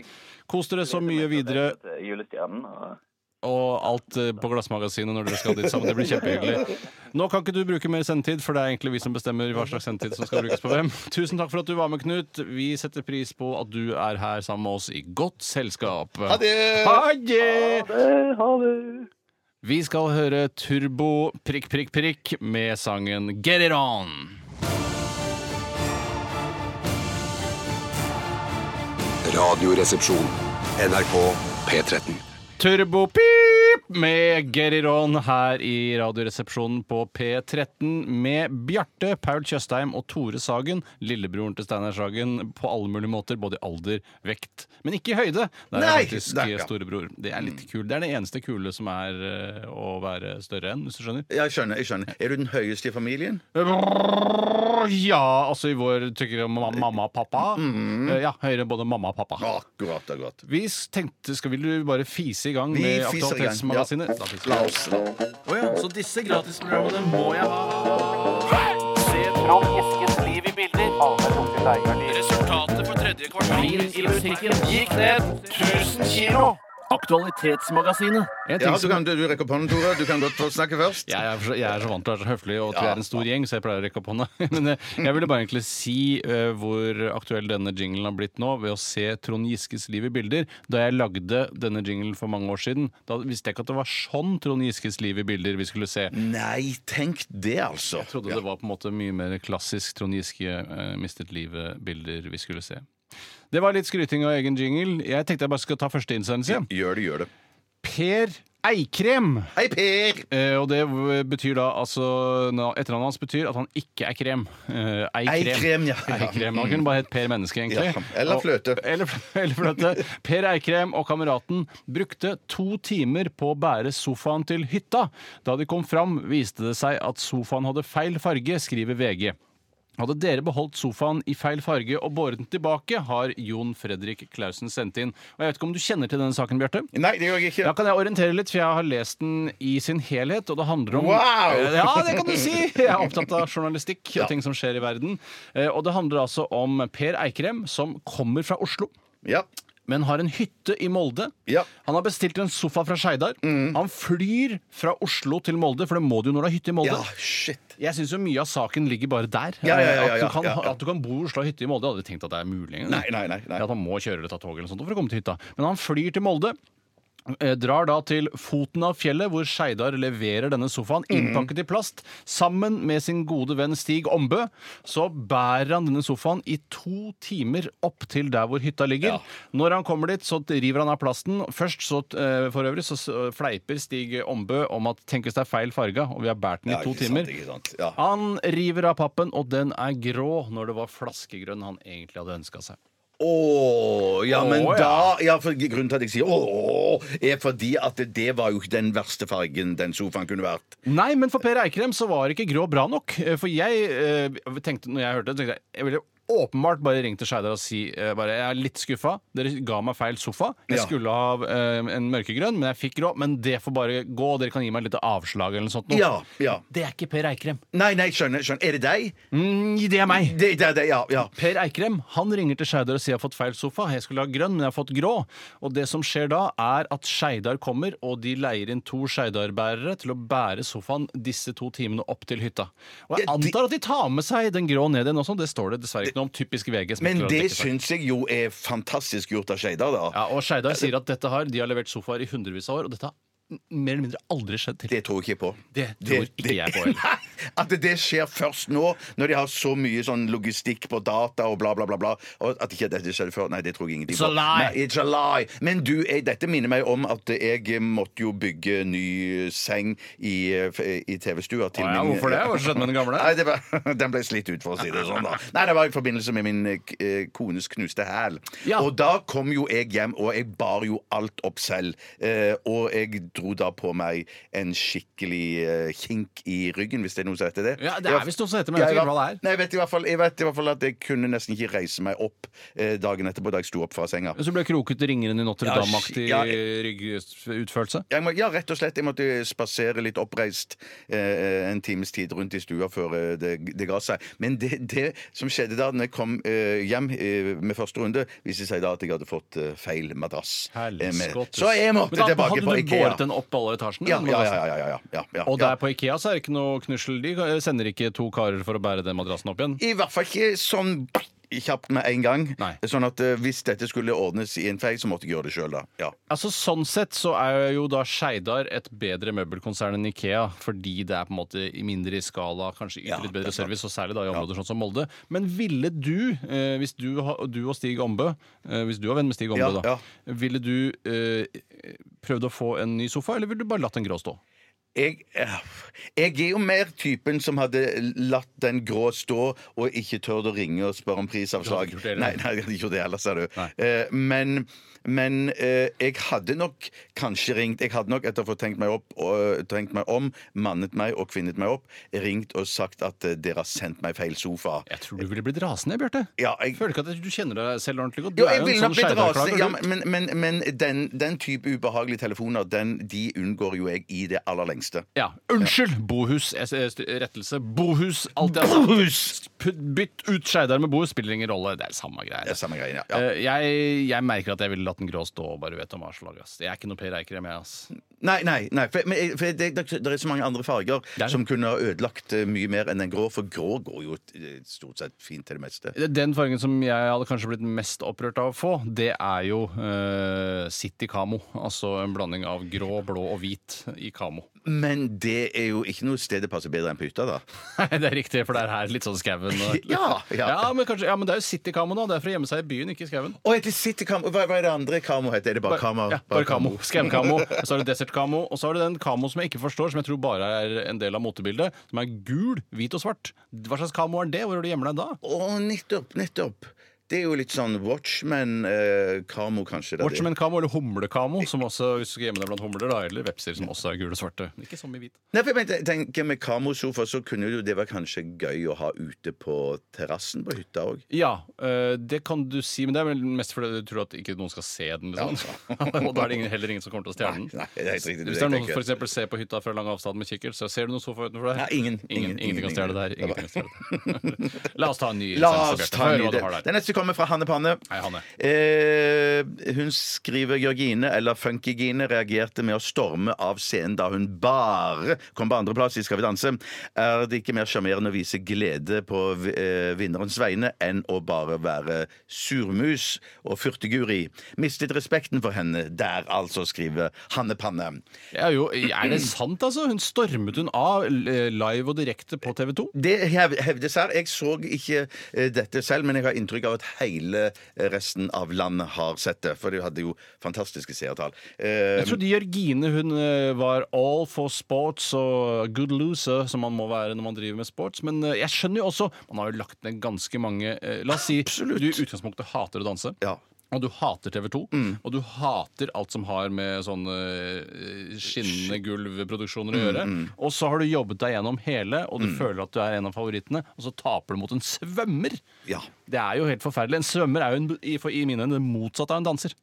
Kos dere så mye videre. Til eh, Julestjernen. Og og alt eh, på Glassmagasinet når dere skal dit sammen. Det blir kjempehyggelig. Nå kan ikke du bruke mer sendetid, for det er egentlig vi som bestemmer hva slags sendetid som skal brukes på hvem. Tusen takk for at du var med, Knut. Vi setter pris på at du er her sammen med oss i godt selskap. Ha det! Ha det! Eh, Ha det! Vi skal høre Turbo prikk, prikk, prikk med sangen Get It On. Radioresepsjon. NRK P13. Turbo pip med Get It On her i Radioresepsjonen på P13 med Bjarte, Paul Tjøstheim og Tore Sagen, lillebroren til Steinar Sagen, på alle mulige måter, både i alder, vekt, men ikke i høyde. Der er Nei, faktisk det er ikke. Mm. storebror. Det er litt kul. Det er det eneste kule som er eh, å være større enn, hvis du skjønner. Ja, jeg skjønner. jeg skjønner Er du den høyeste i familien? Ja, altså i vår tykker om ma- mamma og pappa. Mm. Eh, Ja, høyere enn både mamma og pappa. Akkurat, akkurat. Vi s- tenkte, skal vil du bare fise i gang Vi med fiser i gang, Aktualitetsmagasinet? ja. Da fiser vi. La oss la. Å ja, så disse gratisprogrammene må jeg ha. Se Trond Eskens liv i bilder. Resultatet for tredje kvartal. i musikken gikk ned 1000 kilo. Aktualitetsmagasinet. Jeg, Ja, tenker du, så- kan, du, du rekker opp hånden, Tore. Du kan godt få snakke først. jeg, er, så- jeg er så vant til å være så høflig, og at vi Ja. er en stor gjeng, så jeg pleier å rekke opp hånda. Men eh, jeg ville bare egentlig si eh, hvor aktuell denne jinglen har blitt nå, ved å se Trond Giskes liv i bilder. Da jeg lagde denne jinglen for mange år siden, da visste jeg ikke at det var sånn Trond Giskes liv i bilder vi skulle se. Nei, tenk det, altså. Jeg trodde det var på en måte mye mer klassisk Trond Giske eh, mistet livet-bilder vi skulle se. Det var litt skryting av egen jingle. Jeg tenkte jeg bare skulle ta første innsendelse. Gjør det, gjør det. Per Eikrem. Hei, Per! Eh, og det v- betyr da altså na- Etternavnet hans betyr at han ikke er krem. Eh, Eikrem, ja. Eikrem. Han kunne bare hett Per Menneske, egentlig. Ja, eller Og- Fløte. Eller, fl- eller fløte. Per Eikrem og kameraten brukte to timer på å bære sofaen til hytta. Da de kom fram, viste det seg at sofaen hadde feil farge, skriver VG. Hadde dere beholdt sofaen i feil farge og båret den tilbake, har Jon Fredrik Klausen sendt inn. Og jeg vet ikke om du kjenner til denne saken, Bjarte? Nei, det gjør jeg Da ikke. kan jeg orientere litt, for jeg har lest den i sin helhet, og det handler om Eh, Wow! Ja, det kan du si! Jeg er opptatt av journalistikk og ting som skjer i verden. Eh, Og det handler altså om Per Eikrem, som kommer fra Oslo. Ja. Men har en hytte i Molde. Ja. Mm. Han har bestilt en sofa fra Skeidar. Han flyr fra Oslo til Molde, for det må du jo når du har hytte i Molde. ja, shit. Jeg syns jo mye av saken ligger bare der. Eh, Ja, ja, ja, ja, at, du kan, ja, ja. at du kan bo i Oslo og hytte i Molde. Jeg hadde ikke tenkt at det er mulig engang. Nei, nei, nei, nei. Ja, At han må kjøre eller ta tog eller noe sånt for å komme til hytta. Men han flyr til Molde. eh, Drar da til foten av fjellet, hvor Skeidar leverer denne sofaen Mhm. innpakket i plast, sammen med sin gode venn Stig Ombø. Så bærer han denne sofaen i to timer opp til der hvor hytta ligger. Når han kommer dit, så river han av plasten. Først så, eh, for øvrig, så s- fleiper Stig Ombø om at tenkes det er feil farga, og vi har båret den i Ja, to ikke sant, timer. ikke sant. Ja. Han river av pappen, og den er grå når det var flaskegrønn han egentlig hadde ønska seg. Å, ja, men Å, ja. da ja, for Grunnen til at jeg sier å, er fordi at det var jo ikke den verste fargen den sofaen kunne vært. Nei, men for Per Eikrem så var ikke grå bra nok. Eh, For jeg eh, tenkte, når jeg hørte det, tenkte jeg jeg ville åpenbart bare ringt til Skeidar og si eh, bare, jeg er litt skuffa. Dere ga meg feil sofa. Jeg Ja. skulle ha eh, en mørkegrønn, men jeg fikk grå. Men det får bare gå. Dere kan gi meg et lite avslag eller noe sånt. nå.» Ja, ja. Det er ikke Per Eikrem. Nei, nei, skjønner. skjønner. Er det deg? Mm, det er meg. Det, det, det, ja, ja. Per Eikrem han ringer til Skeidar og sier jeg har fått feil sofa. Jeg skulle ha grønn, men jeg har fått grå. Og det som skjer da, er at Skeidar kommer, og de leier inn to Skeidar-bærere til å bære sofaen disse to timene opp til hytta. Og jeg Ja, de- antar at de tar med seg den grå ned igjen også. Det står det dessverre ikke noe om. Typisk VG. som Men ikke klarer å det dekke seg. syns jeg jo er fantastisk gjort av Skeidar, da. ja, Og Skeidar sier at dette har, de har levert sofaer i hundrevis av år, og dette har n- mer eller mindre aldri skjedd til. Det tror jeg ikke på. Det tror ikke jeg på heller. Nei, At det skjer først nå, når de har så mye sånn logistikk på data og bla, bla, bla. bla og at ikke dette skjedde før. Nei, det tror jeg ingenting It's a lie. Nei, it's a lie. Men du, jeg, dette minner meg om at jeg måtte jo bygge ny seng i, eh, i TV-stua til Å ja, min hvorfor det? Hva skjedde med den gamle? Nei, det var, den ble slitt ut, for å si det sånn. da Nei, Det var i forbindelse med min eh, k- eh, kones knuste hæl. Ja. Og da kom jo jeg hjem, og jeg bar jo alt opp selv. Eh, og jeg dro da på meg en skikkelig eh, kink i ryggen, hvis det det noe som heter det? Ja, det er visst noe som heter det, men jeg vet Ja, ikke hva det er. Nei, jeg vet, i hvert fall, jeg vet i hvert fall at jeg kunne nesten ikke reise meg opp eh, dagen etterpå da jeg sto opp fra senga. Så ble kroket ringeren i Notre Ja, Dame-aktig ja, jeg- ryggutførelse? Jeg må, ja, rett og slett. Jeg måtte spasere litt oppreist eh, en times tid rundt i stua før eh, det, det ga seg. Men det, det som skjedde da når jeg kom eh, hjem eh, med første runde, viste seg da at jeg hadde fått eh, feil madrass. eh, med- Helskottes. Så jeg måtte Men da tilbake på Hadde du Ikea. båret den opp alle etasjene? Ja, den ja, ja, madrassen? ja, ja, ja, ja, ja. Og ja. der på Ikea så er det ikke noe knussel. De eh, sender ikke to karer for å bære den madrassen opp igjen. I hvert fall ikke sånn kjapt med en gang. Nei. Sånn at eh, hvis dette skulle ordnes i en fei, så måtte jeg gjøre det sjøl, da. Ja. Altså Sånn sett så er jo da Skeidar et bedre møbelkonsern enn Ikea, fordi det er på en måte i mindre i skala, kanskje yter Ja, litt det er bedre sant. service, og særlig da i områder sånn som Molde. Men ville du, eh, hvis du, ha- du og Stig Ombø eh, Hvis du er venn med Stig Ombø, Ja, da, ja. ville du eh, prøvd å få en ny sofa, eller ville du bare latt den grå stå? Jeg, eh, jeg er jo mer typen som hadde latt den grå stå og ikke tørt å ringe og spørre om prisavslag. Du hadde ikke gjort det, Nei, eller? nei, jeg hadde ikke gjort det heller, ser du. Nei. Eh, men men eh, jeg hadde nok kanskje ringt Jeg hadde nok etter å få tenkt meg, opp, og, eh, tenkt meg om, mannet meg og kvinnet meg opp, ringt og sagt at eh, dere har sendt meg feil sofa. Jeg tror du ville blitt rasende, Bjarte. Ja, jeg- Føler ikke at du kjenner deg selv ordentlig godt. Du Jo, er jeg jo ville en nok sånn blitt rasende, Skeidar-klager. ja, du. men, men, men den, den type ubehagelige telefoner, den, de unngår jo jeg i det aller lengste. Ja. Unnskyld! Bohus. Jeg, jeg, st- rettelse. Bohus. Alt jeg har sagt. P- Bytt ut Skeidar med Bohus. Spiller ingen rolle. Det er samme Det greie. er samme greien, ja. ja. Eh, Jeg, jeg merker at jeg ville latt den grå stå og bare vet om hva slag. ass. Jeg er ikke noe Per Eikrem, jeg, ass. Nei, nei, nei for, men, jeg- for det, det, det er så mange andre farger det. som kunne ha ødelagt eh, mye mer enn den grå, for grå går jo eh, stort sett fint til det meste. Den fargen som jeg hadde kanskje blitt mest opprørt av å få, det er jo eh, City Camo. Altså en blanding av grå, blå og hvit i camo. Men det er jo ikke noe sted det passer bedre enn på hytta, da. det er riktig, for det er her litt sånn skauen. og- Ja, ja. men kanskje, ja, men det er jo City Camo nå. Det er for å gjemme seg i byen, ikke i skauen. Og heter City Camo hva, hva er det andre Camo heter? Er det bare Camo? Ja, bare kamo. Skaukamo. Så har du desertkamo. Og så har du den kamo som jeg ikke forstår, som jeg tror bare er en del av motebildet, som er gul, hvit og svart. Hva slags kamo er det? Hvor har du gjemmer deg da? Å, nettopp, nettopp. Det er jo litt sånn Watchman-Camo, kanskje. det er det. Watchman-kamo eller humlekamo, som også hvis du skal gjemme deg blant humler, da, eller vepser som også er gule og svarte. Men Ikke så mye hvit. Nei, for jeg mente- tenker Med kamosofa så kunne jo det være kanskje gøy å ha ute på terrassen på hytta òg. Ja, øh, det kan du si, men det er vel mest fordi du tror at ikke noen skal se den. Liksom. og da er det ingen, heller ingen som kommer til å stjele den. Nei, nei, det er helt riktig, det Hvis det er tenker noen jeg. som for eksempel ser på hytta fra lang avstand med kikkert, så ser du noen sofa utenfor der? Nei, ingen. Ingen, Ingen, ingen, ingen, kan stjele det her. ingen. Ingen kan stjele det. La oss ta en ny La sendelse, oss Bjarte. ta en Hør ny hva du har der. del. Den neste kommer fra Hanne Panne. Hei, Hanne. Eh, hun skriver Georgine, eller Funkygine, reagerte med å storme av scenen da hun bare kom på andreplass i Skal vi danse. Er det ikke mer sjarmerende å vise glede på eh, vinnerens vegne enn å bare være surmus og furteguri? Mistet respekten for henne der, altså, skriver Hanne Panne. Ja, jo, er det sant, altså? Hun stormet hun av eh, live og direkte på TV 2. Det hev- hevdes her. Jeg så ikke eh, dette selv, men jeg har inntrykk av at hele eh, resten av landet har sett det. For de hadde jo fantastiske seertall. Eh, Jeg trodde Jørgine hun eh, var all for sports og good loser, som man må være når man driver med sports. Men eh, jeg skjønner jo også Man har jo lagt ned ganske mange eh, La oss si du i utgangspunktet hater å danse. Ja. Og du hater TV 2, og du hater alt som har med sånne eh, skinnende gulvproduksjoner å gjøre. Og så har du jobbet deg gjennom hele, og du føler at du er en av favorittene, og så taper du mot en svømmer! Ja. Det er jo helt forferdelig. En svømmer er jo en, i, for, i mine øyne det motsatte av en danser.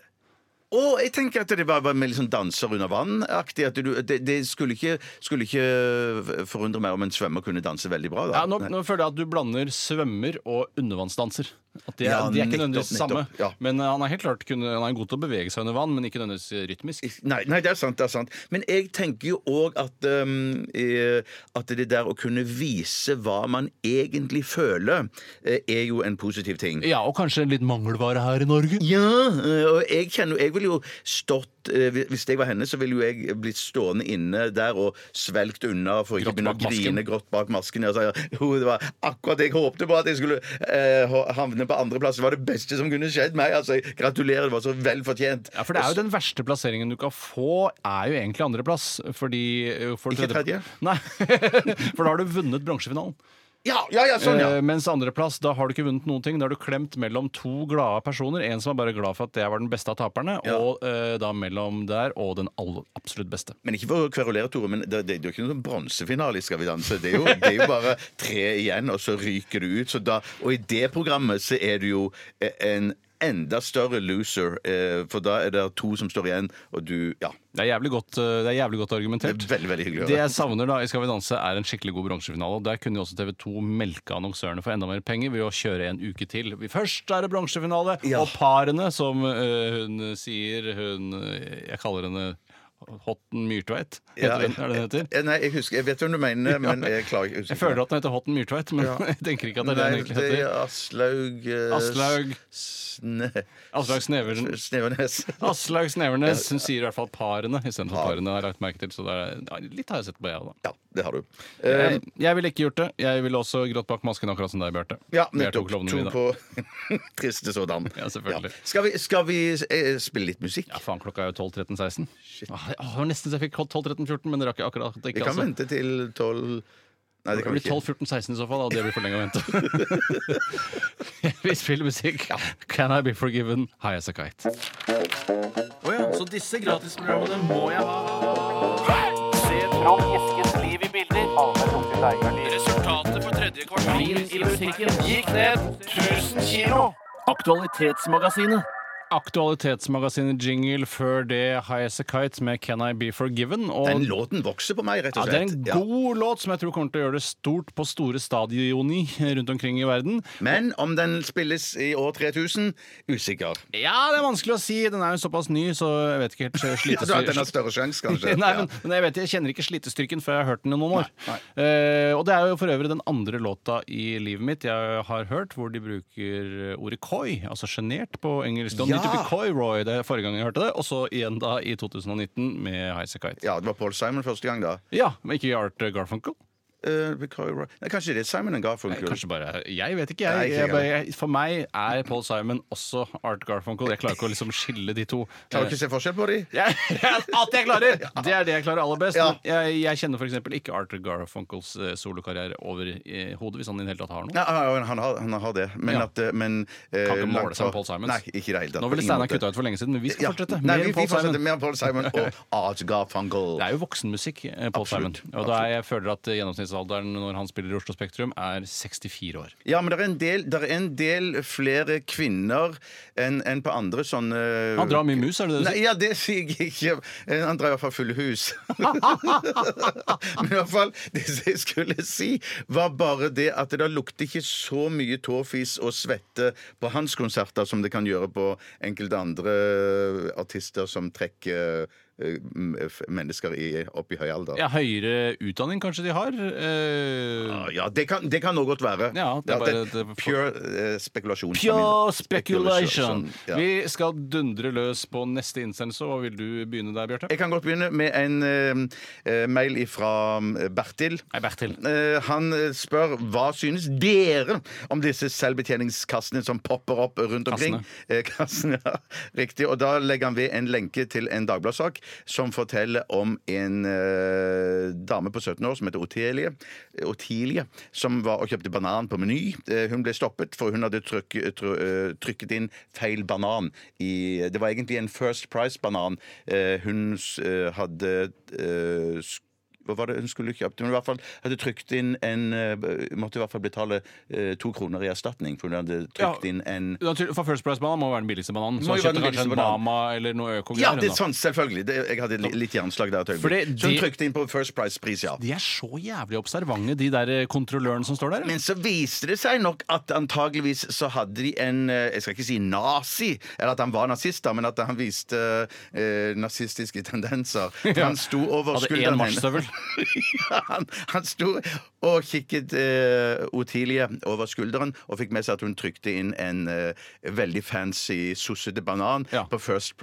Og jeg tenker at det var, var med liksom danser under vann-aktig. at du- Det, det skulle, ikke, skulle ikke forundre meg om en svømmer kunne danse veldig bra. Da. Ja, nå, nå føler jeg at du blander svømmer og undervannsdanser. At det, er- Ja, de er ikke nettopp, nødvendigvis det samme. nettopp, ja. Men eh, han er helt klart kunne, han er god til å bevege seg under vann, men ikke nødvendigvis rytmisk. Nei, nei, det er sant. det er sant Men jeg tenker jo òg at, um, eh, at det der å kunne vise hva man egentlig føler, eh, er jo en positiv ting. Ja, og kanskje litt mangelvare her i Norge. Ja, øh, og jeg kjenner Jeg ville jo stått øh, hvi- Hvis jeg var henne, så ville jo jeg blitt stående inne der og svelgt unna for ikke Grått begynne å bak masken. grine grått bak masken. Og si, jo, det var akkurat det jeg håpte på, at jeg skulle eh, ha- havne på andreplass. Det var det beste som kunne skjedd meg. Altså, jeg gratulerer, det var så vel fortjent. Ja, for det er jo Den verste plasseringen du kan få, er jo egentlig andreplass. Fordi eh, for Ikke tredje- tredje? Nei, For da har du vunnet bransjefinalen. Ja, ja, ja, sånn, ja. Eh, mens andreplass, da har du ikke vunnet noen ting. Da er du klemt mellom to glade personer. En som er bare glad for at jeg var den beste av taperne, Ja. og eh, da mellom der og den all, absolutt beste. Men ikke for å kverulere, Tore, men det, det, det er jo ikke noen bronsefinale i Skal vi danse. Det er, jo, det er jo bare tre igjen, og så ryker du ut. Så da, og i det programmet så er du jo eh, en enda større loser, eh, for da er det to som står igjen, og du Ja. Det er jævlig godt, eh, det er jævlig godt Det er argumentert. veldig, veldig hyggelig å Det høre. jeg savner da i Skal vi danse, er en skikkelig god bronsefinale. og Der kunne jo også TV 2 melka annonsørene for enda mer penger ved å kjøre en uke til. Først er det bronsefinale, Ja. og parene, som eh, hun sier hun, eh, Jeg kaller henne Hotten Myrtveit. Ja. Heter hun, er det den heter? Eh, Nei, jeg husker, jeg vet hvem du mener, men jeg klarer ikke. Jeg føler at den heter Hotten Myrtveit, men jeg tenker ikke at det er det den egentlig Nei, det er heter. Aslaug eh, Aslaug. Sne... Aslaug Sneversen. Snevernes. Aslaug Snevernes hun sier i hvert fall parene istedenfor Par. parene. har jeg lagt merke til, så det er, ja, Litt har jeg sett på, jeg òg, da. Ja, det har du. Eh, Jeg, jeg ville ikke gjort det. Jeg ville også grått bak masken, akkurat som deg, Bjarte. Ja, Vi er to nettopp. klovner, To vi, da. på triste sådan. Ja, selvfølgelig. Skal, vi, skal vi eh, spille litt musikk? Ja, faen, klokka er jo 12.13.16. Åh, Ah, jeg- åh, det var nesten så jeg fikk 12.13.14, men det rakk jeg akkurat ikke. Vi kan altså. vente til tolv Nei, det Det kan vi blir ikke. 12.14.16 i så fall, da, og det blir for lenge å vente. vi spiller musikk. Can I be forgiven? High as a kite. Så disse gratisprogrammene må jeg ha. Se Trond Eskens liv i bilder. Resultatet for tredje kvartal i musikken gikk ned 1000 kilo. Aktualitetsmagasinet. Aktualitetsmagasinet Jingle før det High as a kite med Can I be forgiven? Og Den låten vokser på meg, rett Ja, og det er slett. en god låt som jeg tror kommer til å gjøre det stort på store stadioni rundt omkring i verden. Men om den spilles i år 3000, usikker. Ja, det er vanskelig å si. Den er jo såpass ny, så jeg vet ikke helt Ja, da, Altså, den slitestyr. har større sjanse, kanskje. Nei, men, men jeg vet jeg kjenner ikke slitestyrken før jeg har hørt den i noen år. Nei, Eh, og det er jo for øvrig den andre låta i livet mitt jeg har hørt hvor de bruker ordet coy, altså sjenert på engelsk. Og Ja! ja. coy Roy, det er forrige gang jeg hørte det, og så igjen da i 2019 med Highasakite. Ja, det var Paul Simon første gang, da. Ja, men ikke Art Garfunkel. Eh, Because- Nei, kanskje det er Simon and Nei, Garfunkel. kanskje bare Jeg vet ikke, Nei, jeg. jeg, ikke jeg bare, jeg for meg er Paul Simon også Art Garfunkel. Jeg klarer ikke å liksom skille de to. Klarer du ikke å se forskjell på dem? Jeg, alt jeg klarer! Det er det jeg klarer aller best. Ja. Men Jeg, jeg kjenner f.eks. ikke Arthur Garfunkels eh, solokarriere over eh, hodet, hvis han i det hele tatt har noe. Nei, han, han, har, han har det, men Ja. at eh, men, eh, Kan ikke måle langt seg med fra- Paul Simons. Nei, ikke i det hele tatt. Nå ville Steinar kutta ut for lenge siden, men vi skal fortsette. Nei, Mer vi, enn Paul vi fortsetter Simon. med Paul Simon og Art Garfunkel. Det er jo voksenmusikk, eh, Paul Absolutt. Simon. Og da er jeg føler at eh, gjennomsnittsalderen når han spiller i Oslo Spektrum, er 64 år. Ja, men det er en del, der er en del flere kvinner enn enn på andre sånne Han drar mye mus, er det det du Nei, sier? ja, det sier jeg ikke. Eh, Han drar i hvert fall fulle hus. Men i hvert fall, det som jeg skulle si, var bare det at det da lukter ikke så mye tåfis og svette på hans konserter som det kan gjøre på enkelte andre artister som trekker eh, m- f- mennesker i, opp i høy alder. Ja, høyere utdanning kanskje de har? Eh, Ja, ja, det kan, det kan nå godt være. Ja, det er bare- det er- pure eh, spekulasjon. Pure speculation. Ja. Vi skal dundre løs på neste innsendelse, og vil du begynne der, Bjarte? Jeg kan godt begynne med en eh, eh, mail fra Bertil. Nei, Bertil. Eh, han eh, spør hva synes dere om disse selvbetjeningskassene som popper opp rundt omkring. Kassene. Eh, kassene, ja. Riktig. Og da legger han ved en lenke til en Dagbladet-sak som forteller om en eh, dame på 17 år som heter Otelie, Otilie, som var og kjøpte banan på Meny. Eh, hun ble stoppet, for hun hadde trykk, tr eh, trykket inn feil banan. I, det var egentlig en First Price-banan. Eh, hun s- eh, hadde eh, sk- hva var det hun skulle kjøpt? Hun i hvert fall hadde trykt inn en eh, Måtte i hvert fall betale eh, to kroner i erstatning, for hun hadde trykt Ja. inn en Naturlig- For First Price-bananen må være den billigste bananen. Så Må han jo være kjøpte den kanskje en billigste bananen. Bama eller noe Ja, økogreier. det er da. sånn, selvfølgelig. Det, jeg hadde li, litt jernslag der. et Fordi øyeblikk. Så hun det- trykte inn på First Price-pris, ja. De er så jævlig observante, de der eh, kontrollørene som står der. Men så viste det seg nok at antageligvis så hadde de en eh, Jeg skal ikke si nazi, eller at han var nazist, da, men at han viste eh, nazistiske tendenser. For Han sto over Hadde skulderen én hennes. marsjstøvel. Ja, han, han sto og kikket eh, Otilie over skulderen og fikk med seg at hun trykte inn en eh, veldig fancy sossete banan Ja. på First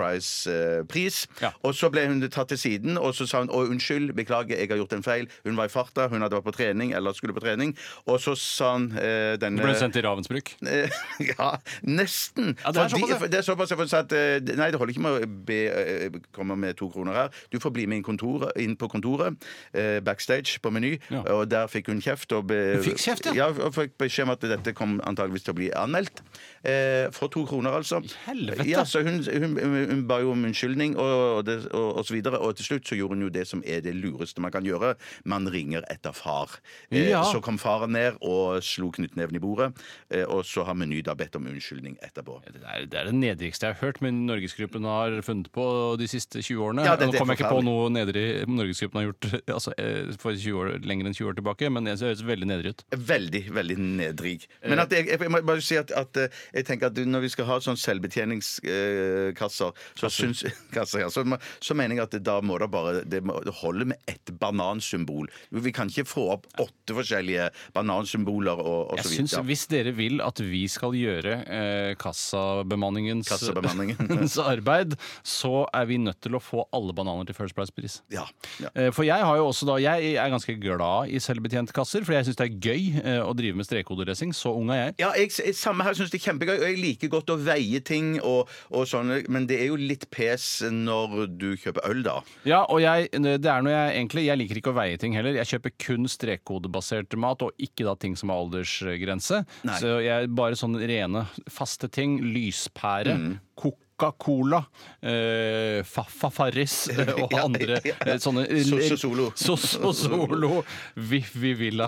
Price-pris. Ja. Og så ble hun tatt til siden, og så sa hun å unnskyld, beklager, jeg har gjort en feil. Hun var i farta, hun hadde vært på trening, eller skulle på trening. Og så sa han eh, denne Ble sendt til Ravensbrück. Eh, ja, nesten. Ja, det er Fordi- såpass, ja. det er såpass, ja, for hun sa at, eh, Nei, det holder ikke med å be, eh, komme med to kroner her. Du får bli med inn, kontor, inn på kontoret. eh, backstage på Meny, Ja. og der fikk hun kjeft. Og be, Hun fikk kjeft, ja? ja? og fikk beskjed om at dette kom antageligvis til å bli anmeldt. Eh, for to kroner, altså. helvete! Ja, så Altså, hun, hun, hun, hun ba jo om unnskyldning og, og, det, og, og så videre, og til slutt så gjorde hun jo det som er det lureste man kan gjøre. Man ringer etter far. Eh, Ja. Så kom faren ned og slo knyttneven i bordet, eh, og så har Meny da bedt om unnskyldning etterpå. Det er det, er det nedrigste jeg har hørt, men Norgesgruppen har funnet på de siste 20 årene. Ja, Nå dette er kommer jeg ikke på forferdelig. noe nedrig Norgesgruppen har gjort altså, eh, for 20 år, lenger enn 20 år tilbake, men det høres veldig nedrig ut. Veldig, veldig nedrig. Eh. Men at jeg, jeg må bare si at, at eh, jeg tenker at når vi skal ha sånn selvbetjeningskasser, så, syns, kasser, ja, så, må- så mener jeg at da må det bare Det, må, det holder med ett banansymbol. Vi kan ikke få opp åtte forskjellige banansymboler og, og Jeg så synes, videre. Hvis dere vil at vi skal gjøre eh, kassabemanningens, Kassabemanningen. arbeid, så er vi nødt til å få alle bananer til First Price-pris. Ja, ja. Eh, For jeg har jo også da Jeg er ganske glad i selvbetjentkasser, for jeg syns det er gøy eh, å drive med strekkoderacing. Så ung er jeg. Ja, jeg, jeg- samme her synes det er kjempegøy, og jeg liker godt å veie ting og, og sånne, men det er jo litt pes når du kjøper øl, da. Ja, og jeg, det er noe jeg egentlig Jeg liker ikke å veie ting heller. Jeg kjøper kun strekkodebasert mat, og ikke da ting som har aldersgrense. Nei. Så jeg bare sånne rene, faste ting. Lyspære. Mm. Coca-Cola, eh, Faffa Farris eh, og Ja, andre ja. eh, sånne Soso Solo. Soso Solo, Viffi Villa,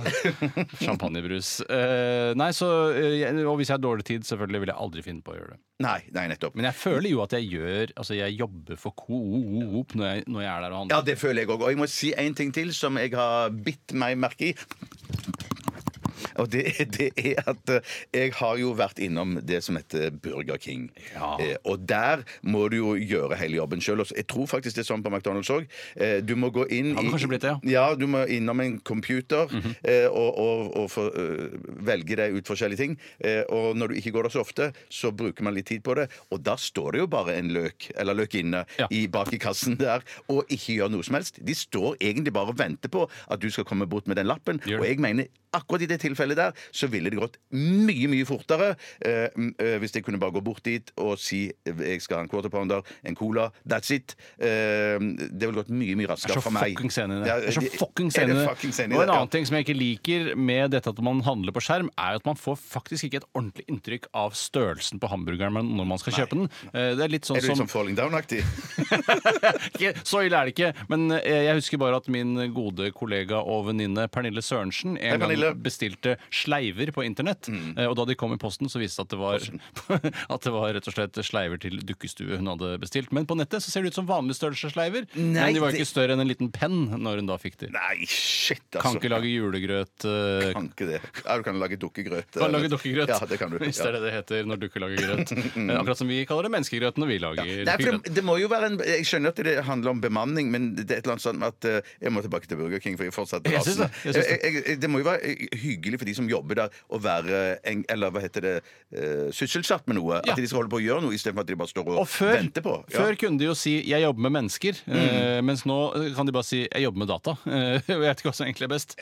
champagnebrus. Eh, nei, så eh, jeg- Og hvis jeg har dårlig tid, selvfølgelig vil jeg aldri finne på å gjøre det. Nei, nei, nettopp. Men jeg føler jo at jeg gjør Altså, jeg jobber for Coop når jeg, når jeg er der og handler. Ja, det føler jeg òg. Og jeg må si en ting til som jeg har bitt meg merke i. Og det, det er at eh, jeg har jo vært innom det som heter Burger King. Ja. Eh, og der må du jo gjøre hele jobben sjøl. Jeg tror faktisk det er sånn på McDonald's òg. Eh, du må gå inn Har det i- kanskje blitt det, ja. Ja, du må innom en computer Mhm. eh, og, og, og få, eh, velge deg ut forskjellige ting. Eh, og når du ikke går der så ofte, så bruker man litt tid på det. Og da står det jo bare en løk eller løk inne Ja. i, bak i kassen der og ikke gjør noe som helst. De står egentlig bare og venter på at du skal komme bort med den lappen. Gjør det. Og jeg mener akkurat i det tilfellet der så ville det gått mye, mye fortere eh, m- eh, hvis jeg kunne bare gå bort dit og si eh, jeg skal ha en quarter pounder, en cola, that's it. Eh, det ville gått mye, mye raskere Jeg er så for meg. fuckings enig i det. Ja, Jeg er så det- fuckings er enig det i det. fuckings enig i Og det? en annen Ja. ting som jeg ikke liker med dette at man handler på skjerm, er jo at man får faktisk ikke et ordentlig inntrykk av størrelsen på hamburgeren man- når man skal kjøpe den. Eh, Det er litt sånn Er du litt som sånn falling down-aktig? Ikke- Så ille er det ikke, men eh, jeg husker bare at min gode kollega og venninne Pernille Sørensen en Pernille. Mm. gang bestilte sleiver på internett, eh, og da de kom i posten, så viste det at det var, at det var rett og slett sleiver til dukkestue hun hadde bestilt. Men på nettet så ser det ut som vanlig størrelse sleiver, Nei, men de var det- ikke større enn en liten penn når hun da fikk de. Nei, shit, altså. Kan ikke lage julegrøt. eh, Kan ikke det. Ja, du kan lage dukkegrøt. eh, Kan lage dukkegrøt, Ja, det kan du. hvis det er Ja. det det heter når dukker lager grøt. Eh, Akkurat som vi kaller det menneskegrøt når vi lager Nei, for grøt. det, det må jo være en, jeg skjønner at det handler om bemanning, men det er et eller annet sånn at eh, Jeg må tilbake til Burger King, for jeg er fortsatt Jeg syns rasende. det, jeg syns det. Jeg- jeg- jeg- det må jo være eh, hyggelig for de som jobber der, å være en, Eller hva heter det eh, sysselsatt med noe. Ja. At de skal holde på å gjøre noe, istedenfor at de bare står og, Og før, venter på. Ja. Mm. før kunne de jo si 'jeg jobber med mennesker', eh, mens nå kan de bare si 'jeg jobber med data'. Eh, Jeg vet ikke hva som egentlig er best.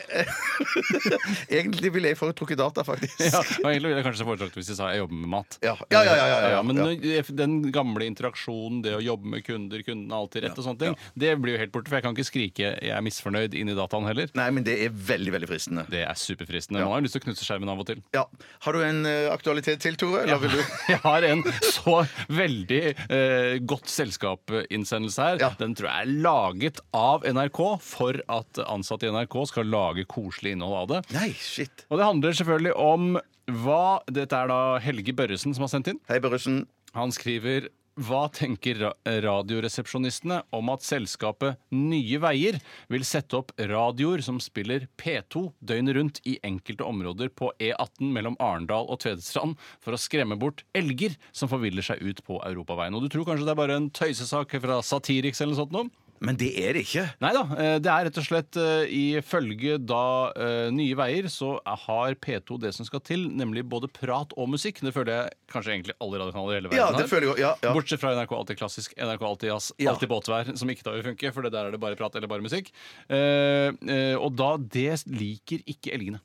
Egentlig ville jeg foretrukket data, faktisk. Ja, og egentlig ville jeg kanskje foretrukket hvis de sa 'jeg jobber med mat'. Ja, ja, ja, ja, ja, ja, Eh, men ja. når- den gamle interaksjonen, det å jobbe med kunder, kundene har alltid rett og sånne ting, det blir jo helt borte. For jeg kan ikke skrike 'jeg er misfornøyd' inn i dataen heller. Nei, men det er veldig, veldig fristende. Det er superfristende. Man har jo lyst til å knuse skjermen av og til. Ja. Har du en eh, aktualitet til, Tore? Eller vil du Jeg har en så veldig eh, godt selskap-innsendelse her. Ja. Den tror jeg er laget av NRK for at ansatte i NRK skal lage koselig innhold av det. Nei, shit. Og det handler selvfølgelig om hva Dette er da Helge Børresen som har sendt inn. Hei, Børresen. Han skriver hva tenker ra- radioresepsjonistene om at selskapet Nye Veier vil sette opp radioer som spiller P2 døgnet rundt i enkelte områder på E18 mellom Arendal og Tvedestrand for å skremme bort elger som forviller seg ut på europaveien? Og du tror kanskje det er bare en tøysesak fra Satiriks eller noe sånt? Noe? Men det er det ikke. Nei da. Det er rett og slett eh, ifølge da eh, Nye Veier så har P2 det som skal til, nemlig både prat og musikk. Det føler jeg kanskje egentlig alle radiokanaler i hele verden Ja, det har. føler jeg òg. Ja, ja. Bortsett fra NRK Alltid Klassisk, NRK Alltid Jazz, Ja. Alltid Båtvær, som ikke da vil funke, for det der er det bare prat eller bare musikk. Eh, eh, og da Det liker ikke elgene.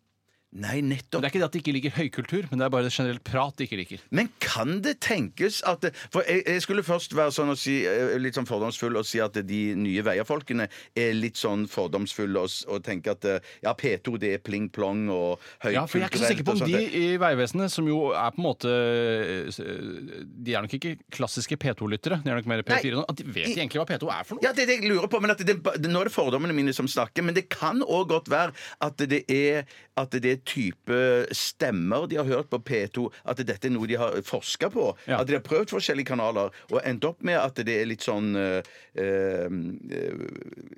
Nei, nettopp. Det er ikke det at det ikke liker høykultur, men det er bare det generelt prat de ikke liker. Men kan det tenkes at det- For jeg, jeg skulle først være sånn og si, eh, litt sånn fordomsfull og si at de nye veierfolkene er lilitt sånn fordomsfulle og, s- og tenke at eh, ja, P2 det er pling-plong og høykulturelt Ja, for Jeg er ikke så sikker på og sånn. om sånt. de i Vegvesenet, som jo er på en måte eh, De er nok ikke klassiske P2-lyttere, de er nok mer P4 nå. At de vet I- egentlig hva P2 er for noe? Ja, det er det jeg lurer på, men at det, det, Nå er det fordommene mine som snakker, men det kan òg godt være at det, er, at det er type stemmer de har hørt på P2, at dette er noe de har forska på. Ja. At de har prøvd forskjellige kanaler og endt opp med at det er litt sånn eh, eh,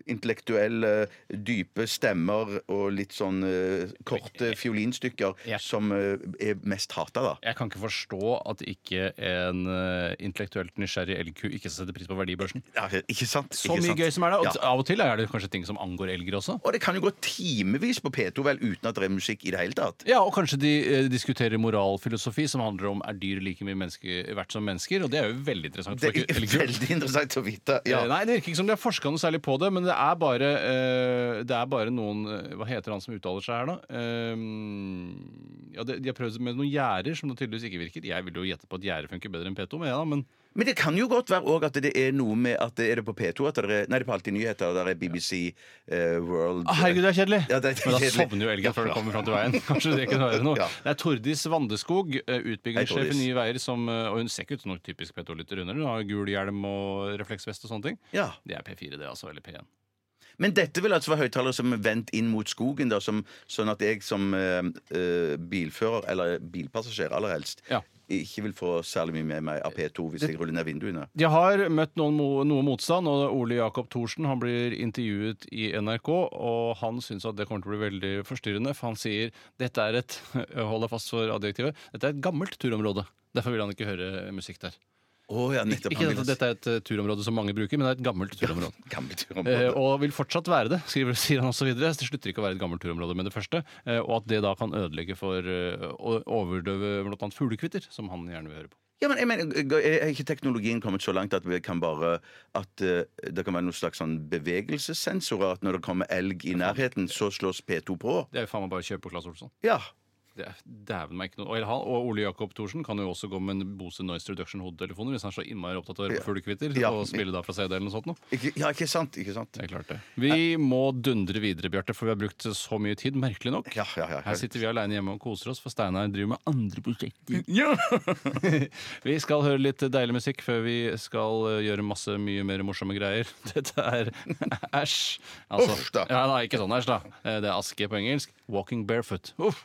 intellektuelle, dype stemmer og litt sånn eh, korte fiolinstykker Ja. som eh, er mest hata, da. Jeg kan ikke forstå at ikke en eh, intellektuelt nysgjerrig elgku ikke setter pris på verdibørsen. Ja, ikke sant? Så ikke mye sant? gøy som er der. Og Ja. av og til er det kanskje ting som angår elger også. Og det kan jo gå timevis på P2 vel uten at det er musikk i det hele tatt. Ja, og kanskje de eh, diskuterer moralfilosofi, som handler om er dyr like mye menneske, verdt som mennesker, og det er jo veldig interessant. Det for ikke- er elgku. veldig interessant å vite. Ja. Eh, Nei, Det virker ikke som de har forska noe særlig på det, men det er bare, eh, det er bare noen eh, Hva heter han som uttaler seg her, da? Eh, ja, det, de har prøvd med noen gjerder som det tydeligvis ikke virker. Jeg ville jo gjette på at gjerde funker bedre enn P2, men, ja, men Men det kan jo godt være òg at det er noe med at det er det på P2 at det er, Nei, det er på Alltid nyheter. Der er BBC eh, World Ah, Herregud, det er kjedelig! Ja, det er men da kjedelig. sovner jo elgen før den kommer fram til veien. Kanskje det kunne være noe. Ja. Det er Tordis Vandeskog, eh, Hei, utbyggingssjef i Tordis. Nye Veier, som eh, Og hun ser ikke ut som noen typisk P2-lytter under. Hun har gul hjelm og refleksvest og sånne ting. eh, Ja. Det er P4, det, altså. Eller P1. Men dette vil altså være høyttalere som er vendt inn mot skogen, da, som, sånn at jeg som eh, eh, bilfører, eller bilpassasjer aller helst, Ja. ikke vil få særlig mye med meg av P2 hvis jeg ruller ned vinduene. De har møtt noen, mo- noe motstand, og Ole Jakob Thorsen han blir intervjuet i NRK. Og han syns at det kommer til å bli veldig forstyrrende, for han sier dette er et hold deg fast for adjektivet, dette er et gammelt turområde. Derfor vil han ikke høre musikk der. Å ja, nettopp. Ikke han vil at dette er et eh, turområde som mange bruker, men det er et gammelt turområde. Gamle Eh, turområder. og vil fortsatt være det, skriver, sier han også videre. Det slutter ikke å være et gammelt turområde med det første. eh, Og at det da kan ødelegge for eh, å overdøve bl.a. fuglekvitter, som han gjerne vil høre på. Ja, men jeg mener, Er ikke teknologien kommet så langt at vi kan bare At eh, det kan være noen slags sånn bevegelsessensorer? At når det kommer elg i nærheten, så slås P2 på? Det er jo faen meg bare å kjøre på Claes Olsson. Ja. Det er dæven meg ikke noe. Og, eller han, og Ole Jakob Thorsen kan jo også gå med en Bose Noise Reduction hodetelefoner hvis han er så innmari opptatt av å høre på fuglekvitter Ja. og spille da fra CD eller noe sånt noe. Ikke, ja, ikke sant? Ikke sant? Det er klart det. Vi må dundre videre, Bjarte, for vi har brukt så mye tid, merkelig nok. Ja, ja, ja. Her sitter vi aleine hjemme og koser oss, for Steinar driver med andre prosjekter. vi skal høre litt deilig musikk før vi skal eh, gjøre masse mye mer morsomme greier. Dette er Æsj. Altså, Uff da. Ja, nei, ikke sånn æsj, da. Eh, Det er aske på engelsk. Walking barefoot. Uff.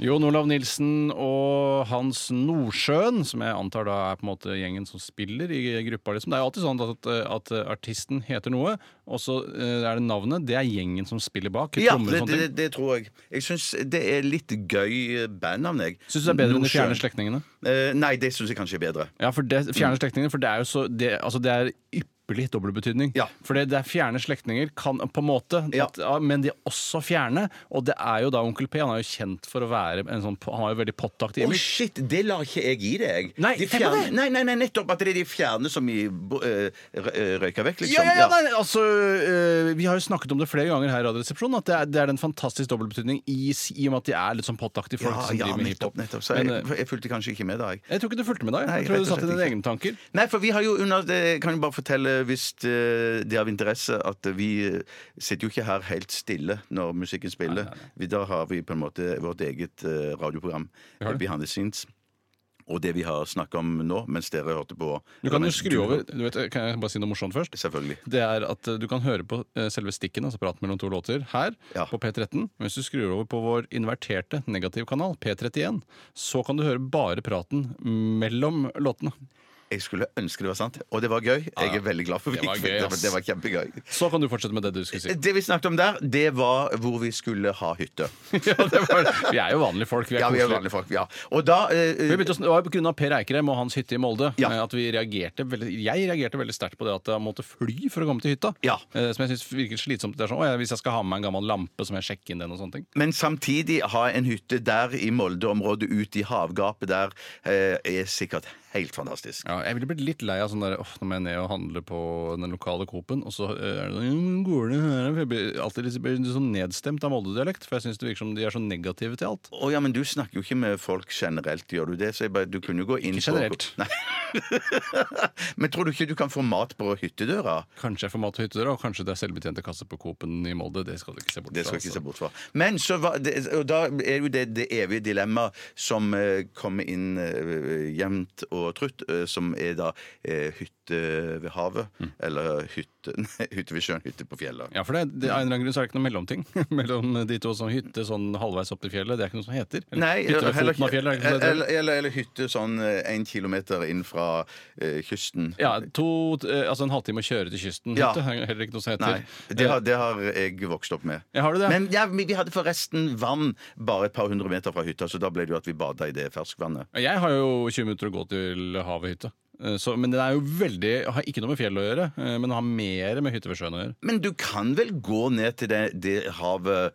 Jon Olav Nilsen og Hans Nordsjøen, som jeg antar da er på en måte gjengen som spiller i gruppa. Liksom. Det er jo alltid sånn at, at artisten heter noe, og så eh, er det navnet. Det er gjengen som spiller bak. Ja, trommer det, og sånne det, ting. det tror jeg. Jeg syns det er litt gøy eh, bandnavn, jeg. Syns du det er bedre enn de fjerne Nordsjøen. Mm. slektningene? Eh, nei, det syns jeg kanskje er bedre. Ja, for det, fjerne slektninger, for det er jo så det, altså det er ypperlig dobbeltbetydning. Ja. For det, det er fjerne slektninger, kan, på en måte, Ja. at, ja, men de er også fjerne. Og det er jo da Onkel P. Han er jo kjent for å være en sånn Han har jo veldig pottaktig Å, image. shit! Det lar ikke jeg gi deg. Nei, de tenk på fjerne, det. nei, nei, nei, nettopp at det er de fjerne som i bo- eh, rø- eh, røyker vekk, liksom. Ja, ja, ja, nei, altså, øh, Vi har jo snakket om det flere ganger her i Radioresepsjonen, at det er, det er en fantastisk dobbeltbetydning i, i og med at de er litt sånn pottaktige folk Ja, som ja, driver med nettopp, hiphop. nettopp. Så Men, jeg, øh, jeg fulgte kanskje ikke med da, jeg. jeg tror ikke du fulgte med deg. Nei, Jeg tror rett du og satt i slett dine ikke. egne tanker. Nei, for vi har jo under det Kan jo bare fortelle, hvis eh, det, det er av interesse, at vi eh, sitter jo ikke her helt stille når musikken spiller. Vi, da har vi på en måte vårt eget eh, radioprogram, har det. Behind the Scenes. Og det vi har snakka om nå, mens dere hørte på Du kan jo skru over du vet, Kan jeg bare si noe morsomt først? Selvfølgelig. Det er at eh, Du kan høre på eh, selve stikken, altså praten mellom to låter, her Ja. på P13. Men hvis du skrur over på vår inverterte negativkanal, P31, så kan du høre bare praten mellom låtene. Jeg skulle ønske det var sant, og det var gøy. Jeg er veldig glad for Det var gøy, fikk- det. ass. var- Det var kjempegøy. Så kan du fortsette med det du skulle si. Det vi snakket om der, det var hvor vi skulle ha hytte. ja, det var, vi er jo vanlige folk. Vi er Ja, vi er koselige. vanlige folk. Ja. Og da eh, Vi begynte å sn- Det var pga. Per Eikrem og hans hytte i Molde Ja. eh, at vi reagerte veldig, jeg reagerte veldig sterkt på det at jeg måtte fly for å komme til hytta. Ja. Eh, Som jeg syns virker slitsomt. Det er sånn, å, ja, Hvis jeg skal ha med meg en gammel lampe, så må jeg sjekke inn den. og sånne ting Men samtidig ha en hytte der i Molde-området, ute i havgapet der, eh, er sikkert helt fantastisk. Ja, jeg ville blitt litt lei av sånn der Åh, nå må jeg ned og handle på den lokale Coop-en, og så eh, er det sånn går det her?» Jeg blir alltid litt, blir litt sånn nedstemt av Molde-dialekt, for jeg syns det virker som de er så negative til alt. Å ja, men du snakker jo ikke med folk generelt, gjør du det? Så jeg bare, du kunne jo gå inn Ikke generelt. På... Nei. men tror du ikke du kan få mat på hyttedøra? Kanskje jeg får mat på hyttedøra, og kanskje det er selvbetjente kasser på Coop-en i Molde. Det skal du ikke se bort Det skal jeg ikke se altså. bort fra. Men så var det, og da er jo det det evige dilemmaet som eh, kommer inn eh, jevnt og trutt, eh, som er da eh, hytte ved havet, Mm. eller hytte, nei, hytte ved sjøen, hytte på fjellet. Ja, for det, det, av en eller annen grunn så er det ikke noe mellomting mellom de to. Sånn hytte sånn halvveis opp til fjellet, det er ikke noe som heter. Eller Nei, hytte ved heller foten av ikke- fjellet, er det ikke noe som heter. eller, eller, eller hytte sånn eh, en kilometer inn fra eh, kysten. Ja, to, eh, altså en halvtime å kjøre til kysten. Ja. Hytte er heller ikke noe som heter. Eh, Nei, det har, det har jeg vokst opp med. Ja, har du det? Men ja, vi vi hadde forresten vann bare et par hundre meter fra hytta, så da ble det jo at vi bada i det ferskvannet. Jeg har jo 20 minutter å gå til havet hytte. Eh, Så, men den er jo veldig har ikke noe med fjellet å gjøre, eh, men har mer med hytte ved sjøen å gjøre. Men du kan vel gå ned til det, det havet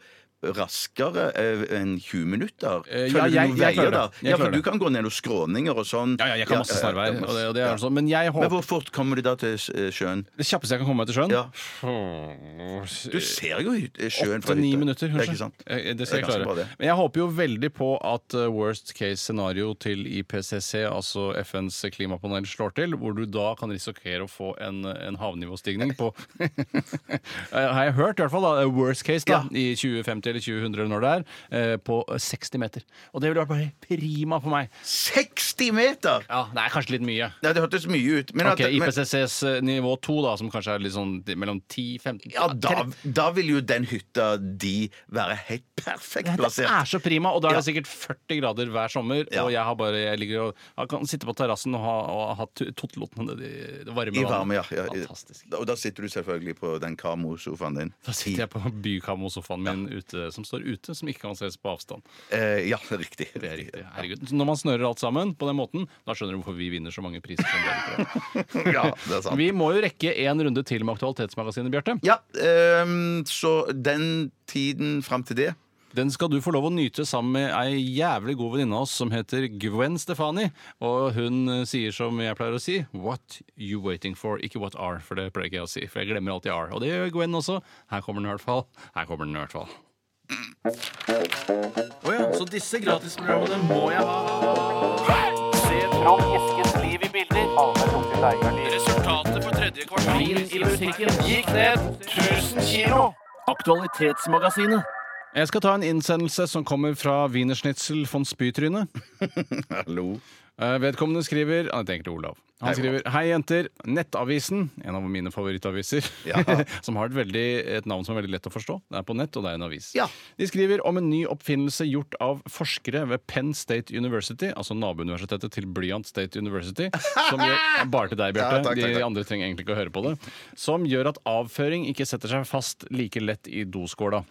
raskere eh, enn 20 minutter? Eh, Følger ja, jeg- du noen jeg veier klarer det. da? Jeg ja, for klarer du det. kan gå ned noen skråninger og sånn. Ja, ja, jeg kan masse snarveier, og det, og det er sånn, men jeg Men håper hvor fort kommer du da til s- eh, sjøen? det kjappeste jeg kan komme meg til sjøen Ja. Du Åtte-ni ser jo hyt- eh, sjøen fra hytta. minutter, Ja, kanskje. Ikke sant? Eh, Det skal jeg Det er ganske bra, klare. det. Men jeg håper jo veldig på at eh, worst case scenario til IPCC, altså FNs klimapanel, slår til, hvor du da kan risikere å få en, en havnivåstigning på Eh, Har jeg hørt, i hvert fall, da, worst case da, i 2050 eller 2000 eller når det er, eh, på 60 meter. Og det ville vært bare prima for meg. 60 meter! Ja, Det er kanskje litt mye. Nei, det hørtes mye ut. Men Ok, at, men, IPCCs eh, nivå 2, da, som kanskje er litt sånn mellom 10-15 ja, da, da vil jo den hytta di være helt perfekt Det er plassert. så prima, og da er det Ja. sikkert 40 grader hver sommer. Ja. Og jeg har bare, jeg ligger og jeg kan sitte på terrassen og ha, og ha tu- tottelotten i det varme I varme, ja. vannet. ja. Fantastisk. Og da sitter du selvfølgelig på den Kamo-sofaen din. Da sitter jeg på bykamosofaen min ute, som står ute, som ikke kan ses på avstand. Eh, ja, riktig. Det er riktig. Herregud. Så Når man snører alt sammen på den måten, da skjønner du hvorfor vi vinner så mange priser. som dere gjør. Ja, det er sant. Vi må jo rekke en runde til med Aktualitetsmagasinet, Bjarte. Ja, ehm, så den tiden fram til det Den skal du få lov å nyte sammen med ei jævlig god venninne av oss som heter Gwen Stefani. Og hun eh, sier som jeg pleier å si, what you waiting for, ikke what are, for det pleier ikke jeg å si, for jeg glemmer alltid are. Og det gjør Gwen også. Her kommer den i hvert fall. Her kommer den i hvert fall. Å ja, så disse gratisprogrammene må jeg ha. Se Trond Eskens liv i bilder. Resultatet for tredje kvartal i musikken gikk ned 1000 kilo. Aktualitetsmagasinet. Jeg skal ta en innsendelse som kommer fra Wienerschnitzel von Spytryne. Hallo. Eh, Vedkommende skriver Han heter egentlig Olav. Han skriver Hei, jenter. Nettavisen, en av mine favorittaviser, Ja. som har et, veldig, et navn som er veldig lett å forstå. Det er på nett, og det er en avis. Ja. De skriver om en ny oppfinnelse gjort av forskere ved Penn State University, altså nabouniversitetet til Bryant State University, som gjør bare til deg, Bjarte. Ja, takk, takk, De takk. andre trenger egentlig ikke å høre på det. Som gjør at avføring ikke setter seg fast like lett i doskåla.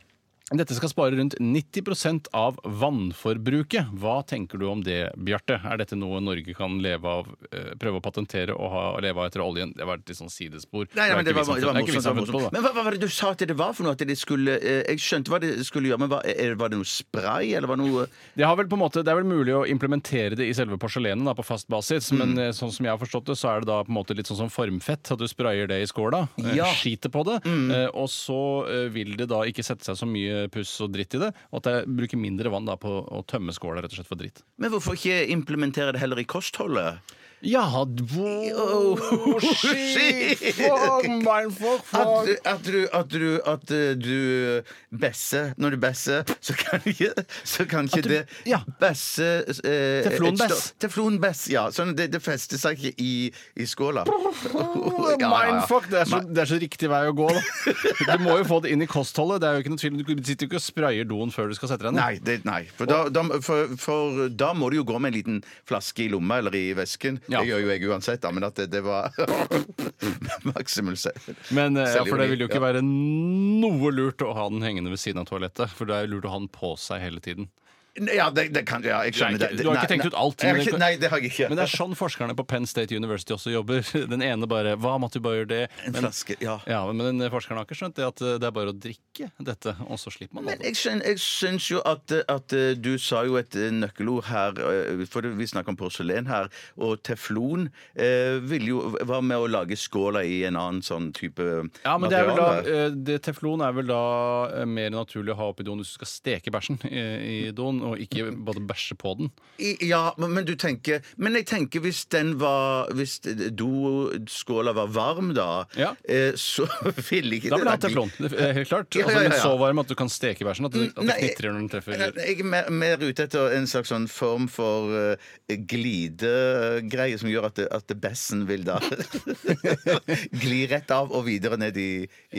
Dette skal spare rundt 90 av vannforbruket. Hva tenker du om det, Bjarte? Er dette noe Norge kan leve av, eh, prøve å patentere og ha, leve av etter oljen? Det var et litt sånn sidespor. Nei, nei, men det er var, ikke vi som- det var det er ikke vi morsomt. som har Det var funnet på morsomt. det. Men hva, hva var det du sa at det var for noe? At det skulle, eh, jeg skjønte hva det skulle gjøre, men hva, er- var det noe spray, eller var det noe Det, har vel på en måte, det er vel mulig å implementere det i selve porselenet da, på fast basis, men eh, sånn som jeg har forstått det, så er det da på en måte litt sånn som formfett, at du sprayer det i skåla, eh, Ja. skiter på det, eh, og så eh, vil det da ikke sette seg så mye puss og dritt i det, og at jeg bruker mindre vann da på å tømme skåla rett og slett for dritt. Men hvorfor ikke implementere det heller i kostholdet? Ja, wow, shit, fuck, At, du- at du At du, at eh, du besser Når du besser, så kan ikke, så kan ikke du- det ja. besse eh, et Teflonbess. stoff- Teflonbess, ja. Sånn, det, det fester seg ikke i, i skåla. Ja, ja, ja. Mindfuck! Det er, så, det er så riktig vei å gå, da. Du må jo få det inn i kostholdet. Det er jo ikke noe tvil. Du sitter jo ikke og sprayer doen før du skal sette deg ned. Nei, det, nei. For, da, da, for, for da må du jo gå med en liten flaske i lomma eller i vesken. Ja. Det gjør jo jeg uansett, da, men at det, det var Maximus Men eh, ja, Selvironi, for det vil jo ikke ja. være noe lurt å ha den hengende ved siden av toalettet. For det er jo lurt å ha den på seg hele tiden. Ja, det, det kan ja, jeg skjønner Du er ikke- det. du har ikke Nei, tenkt ut nei. alt, Jeg har men det- ikke- Nei, det har jeg ikke. Men det er sånn forskerne på Penn State University også jobber. Den ene bare Hva om at du bare gjør det? En Men, flaske, ja. ja, men den forskeren har ikke skjønt det at eh, det er bare å drikke dette, og så slipper man Men det. jeg, skjøn- jeg syns jo at, eh, at eh, du sa jo et eh, nøkkelord her, eh, for det- vi snakker om porselen her, og teflon eh, ville jo Hva med å lage skåla i en annen sånn type Ja, men det er vel da, materiale? eh, det, Teflon er vel da eh, mer naturlig å ha oppi doen hvis du skal steke bæsjen i, i doen, og ikke både bæsje på den. I, ja, men, men du tenker Men jeg tenker hvis den var Hvis doskåla var varm, da, Ja. eh, så ville ikke Da vil jeg ha lagt- teflon. Det er helt klart. Ja, Altså, ja, ja, den er så ja. varm at du kan steke bæsjen. At, den- at det Nei, knitrer når den treffer Nei, Jeg er mer, mer ute etter en slags sånn form for eh, glidegreie som gjør at, det- at bessen vil da gli rett av og videre ned i,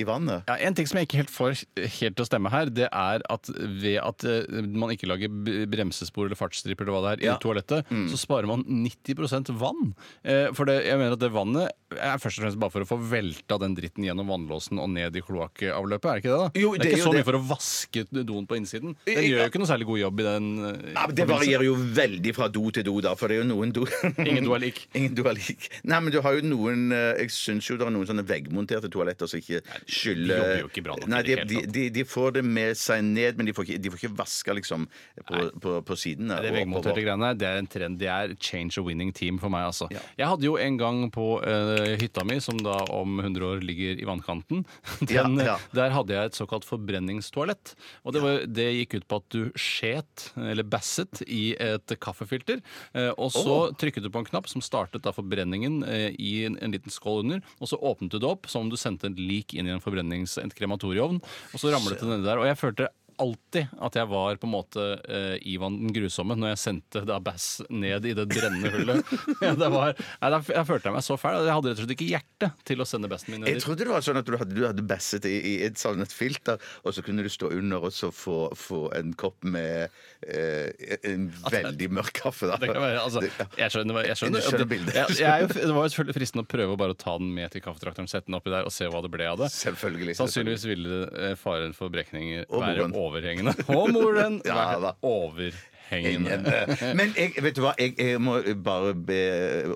i vannet. Ja, En ting som jeg ikke helt får helt til å stemme her, det er at ved at eh, man ikke lager b- bremsespor eller fartsstriper eller hva det er Ja. Mm. i toalettet, så sparer man 90 vann. Eh, for det, jeg mener at det vannet er først og fremst bare for å få velta den dritten gjennom vannlåsen og ned i kloakkavløpet, er det ikke det? da? Jo, det det er er ikke jo så det. Eh, mye for å vaske doen på innsiden. Den gjør jo ikke noe særlig god jobb i den. eh, Ja, men det forbindelse. varierer jo veldig fra do til do, da, for det er jo noen do Ingen do er lik. Ingen do er lik. Nei, men du har jo noen eh, Jeg syns jo det er noen sånne veggmonterte toaletter som ikke skyller jobber jo ikke bra nok i Nei, de, det hele de, tatt. de, de får det med seg ned, men de får ikke, de får ikke vaska liksom på, på, på sidene. Det og veggmonterte oppover. greiene det er en trend. Det er change a winning team for meg, altså. Jeg hadde jo en gang på eh, hytta mi, som da om 100 år ligger i vannkanten, den, Ja, ja. der hadde jeg et såkalt forbrenningstoalett. Og det, var, det gikk ut på at du skjet, eller basset, i et kaffefilter. eh, og så trykket du på en knapp som startet da forbrenningen eh, i en, en liten skål under. Og så åpnet du det opp som om du sendte en lik inn i en forbrennings- en krematorieovn. Og så ramlet det nedi der. Og jeg følte alltid at jeg var på en måte eh, Ivan den grusomme når jeg sendte da Bass ned i det brennende hullet. ja, det var, nei, da, f- jeg følte meg så fæl. Jeg hadde rett og slett ikke hjerte til å sende bassen min ned Jeg dit. trodde det var sånn at du hadde, du hadde basset i, i et sånn et filter, og så kunne du stå under og så få, få en kopp med eh, en veldig mørk kaffe. Da. Det kan være, altså, jeg skjønner, jeg skjønner, Du skjønner bildet. Jeg, jeg, er jo- det var jo selvfølgelig fristende å prøve å bare ta den med til kaffetrakteren, sette den oppi der og se hva det ble av det. Selvfølgelig, selvfølgelig. Sannsynligvis ville eh, faren for brekninger Og være moren. overhengende. Og moren! Ja, være da. eh. overhengende. Men jeg, vet du hva, jeg, jeg må bare be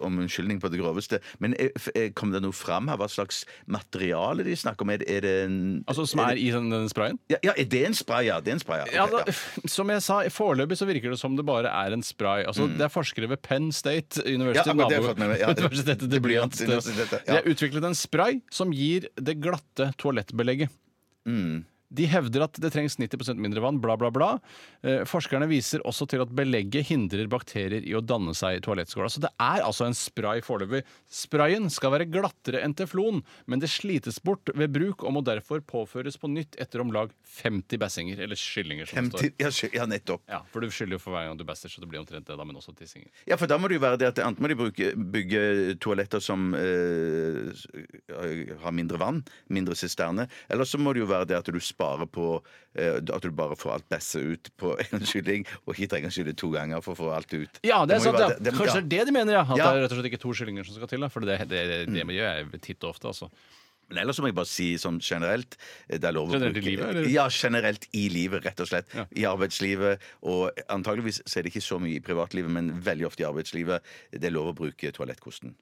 om unnskyldning på det groveste. Men jeg, f- eh, kom det noe fram her? Hva slags materiale de snakker om? Er det, er det en Altså, som er i den, den sprayen? ja, ja, er det en spray? Ja, det er en spray. Ja. Ja, Ok, da, som jeg sa, Foreløpig så virker det som det bare er en spray. Altså, Det er forskere ved Penn State University. Mm. Ja, akkurat det har jeg nabo- fått med meg, ja. Universitetet til Det blir Blyant. universitetet, De ja. har utviklet en spray som gir det glatte toalettbelegget. De hevder at det trengs 90 mindre vann, bla, bla, bla. Eh, forskerne viser også til at belegget hindrer bakterier i å danne seg i toalettskåla. Så det er altså en spray foreløpig. Sprayen skal være glattere enn teflon, men det slites bort ved bruk og må derfor påføres på nytt etter om lag 50 bassinger, eller skyllinger, som det står. 50, ja, skjø- ja, nettopp. Ja, for du skylder jo for hver gang du bæsjer, så det blir omtrent det, da, men også tissinger. Ja, for da må det jo være det at enten må de bruke, bygge toaletter som eh, s- har mindre vann, mindre sisterne, eller så må det jo være det at du sparer på eh, At du bare får alt besset ut på en skylling, og ikke trenger å skylle to ganger for å få alt ut. Ja, det er må jo sant, være ja. det- det- Kanskje det er det de mener, ja. At Ja. Mm. det er rett og slett ikke to skyllinger som skal til. Da. For det, det, det, det gjør jeg titt og ofte, altså. Men ellers så må jeg bare si sånn generelt eh, det er lov å Generelt i bruke- livet, eller? Ja, generelt i livet, rett og slett. I arbeidslivet. Og antageligvis så er det ikke så mye i privatlivet, men veldig ofte i arbeidslivet. Det er lov å bruke toalettkosten.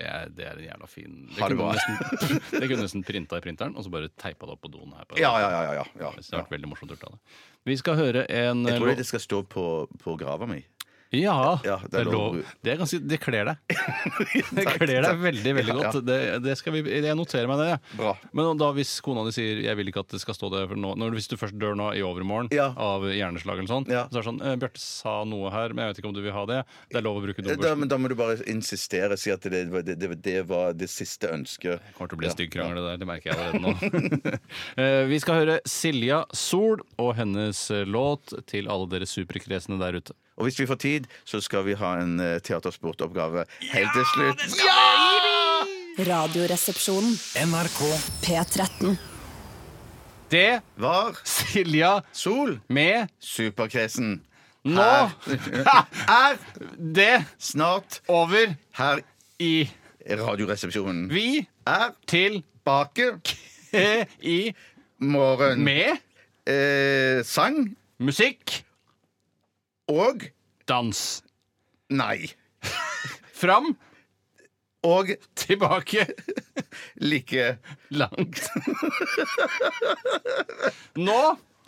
Ja, det er en jævla fin Det Ha det kunne bra. nesten, det kunne nesten printa i printeren, og så bare teipa det opp på doen her. På Ja, ja, ja. ja, ja, Det ja. har vært veldig morsomt gjort av det. Vi skal høre en Jeg tror låt- det skal stå på, på grava mi. Ja, Ja, det, er lov. Det, er ganske, det kler deg. Det Takk, kler deg takk. veldig veldig Ja, ja. godt. Det, det skal vi, jeg noterer meg det. jeg. Bra. Men da hvis kona di sier 'jeg vil ikke at det skal stå det for nå', når, hvis du først dør nå i overmorgen Ja. av hjerneslag eller sånn, Ja. så er det sånn eh, 'Bjarte sa noe her, men jeg vet ikke om du vil ha det'. Det er lov å bruke Eh, Da, dobbeltspor. men da må du bare insistere og si at det, var- det, det, det var det siste ønsket. Det kommer til å bli en stygg krangel, det der. Det merker jeg allerede nå. Eh, vi skal høre Silja Sol og hennes eh, låt til alle dere superkresne der ute. Og hvis vi får tid, så skal vi ha en eh, teatersportoppgave helt til slutt. Radioresepsjonen. NRK P13. Det Var Silja Sol med superkresen nå er det snart over her i i Radioresepsjonen. Vi er til bake eh, i morgen med eh, sang musikk og Dans. nei. Fram, Og tilbake, like langt. Nå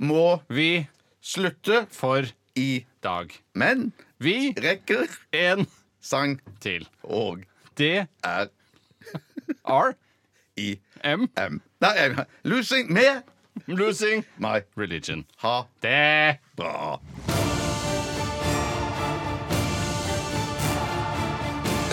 må vi slutte for i dag. Men Vi rekker en sang til. og Det er er i M. M. Nei, em, losing med Losing my religion. ha Det bra.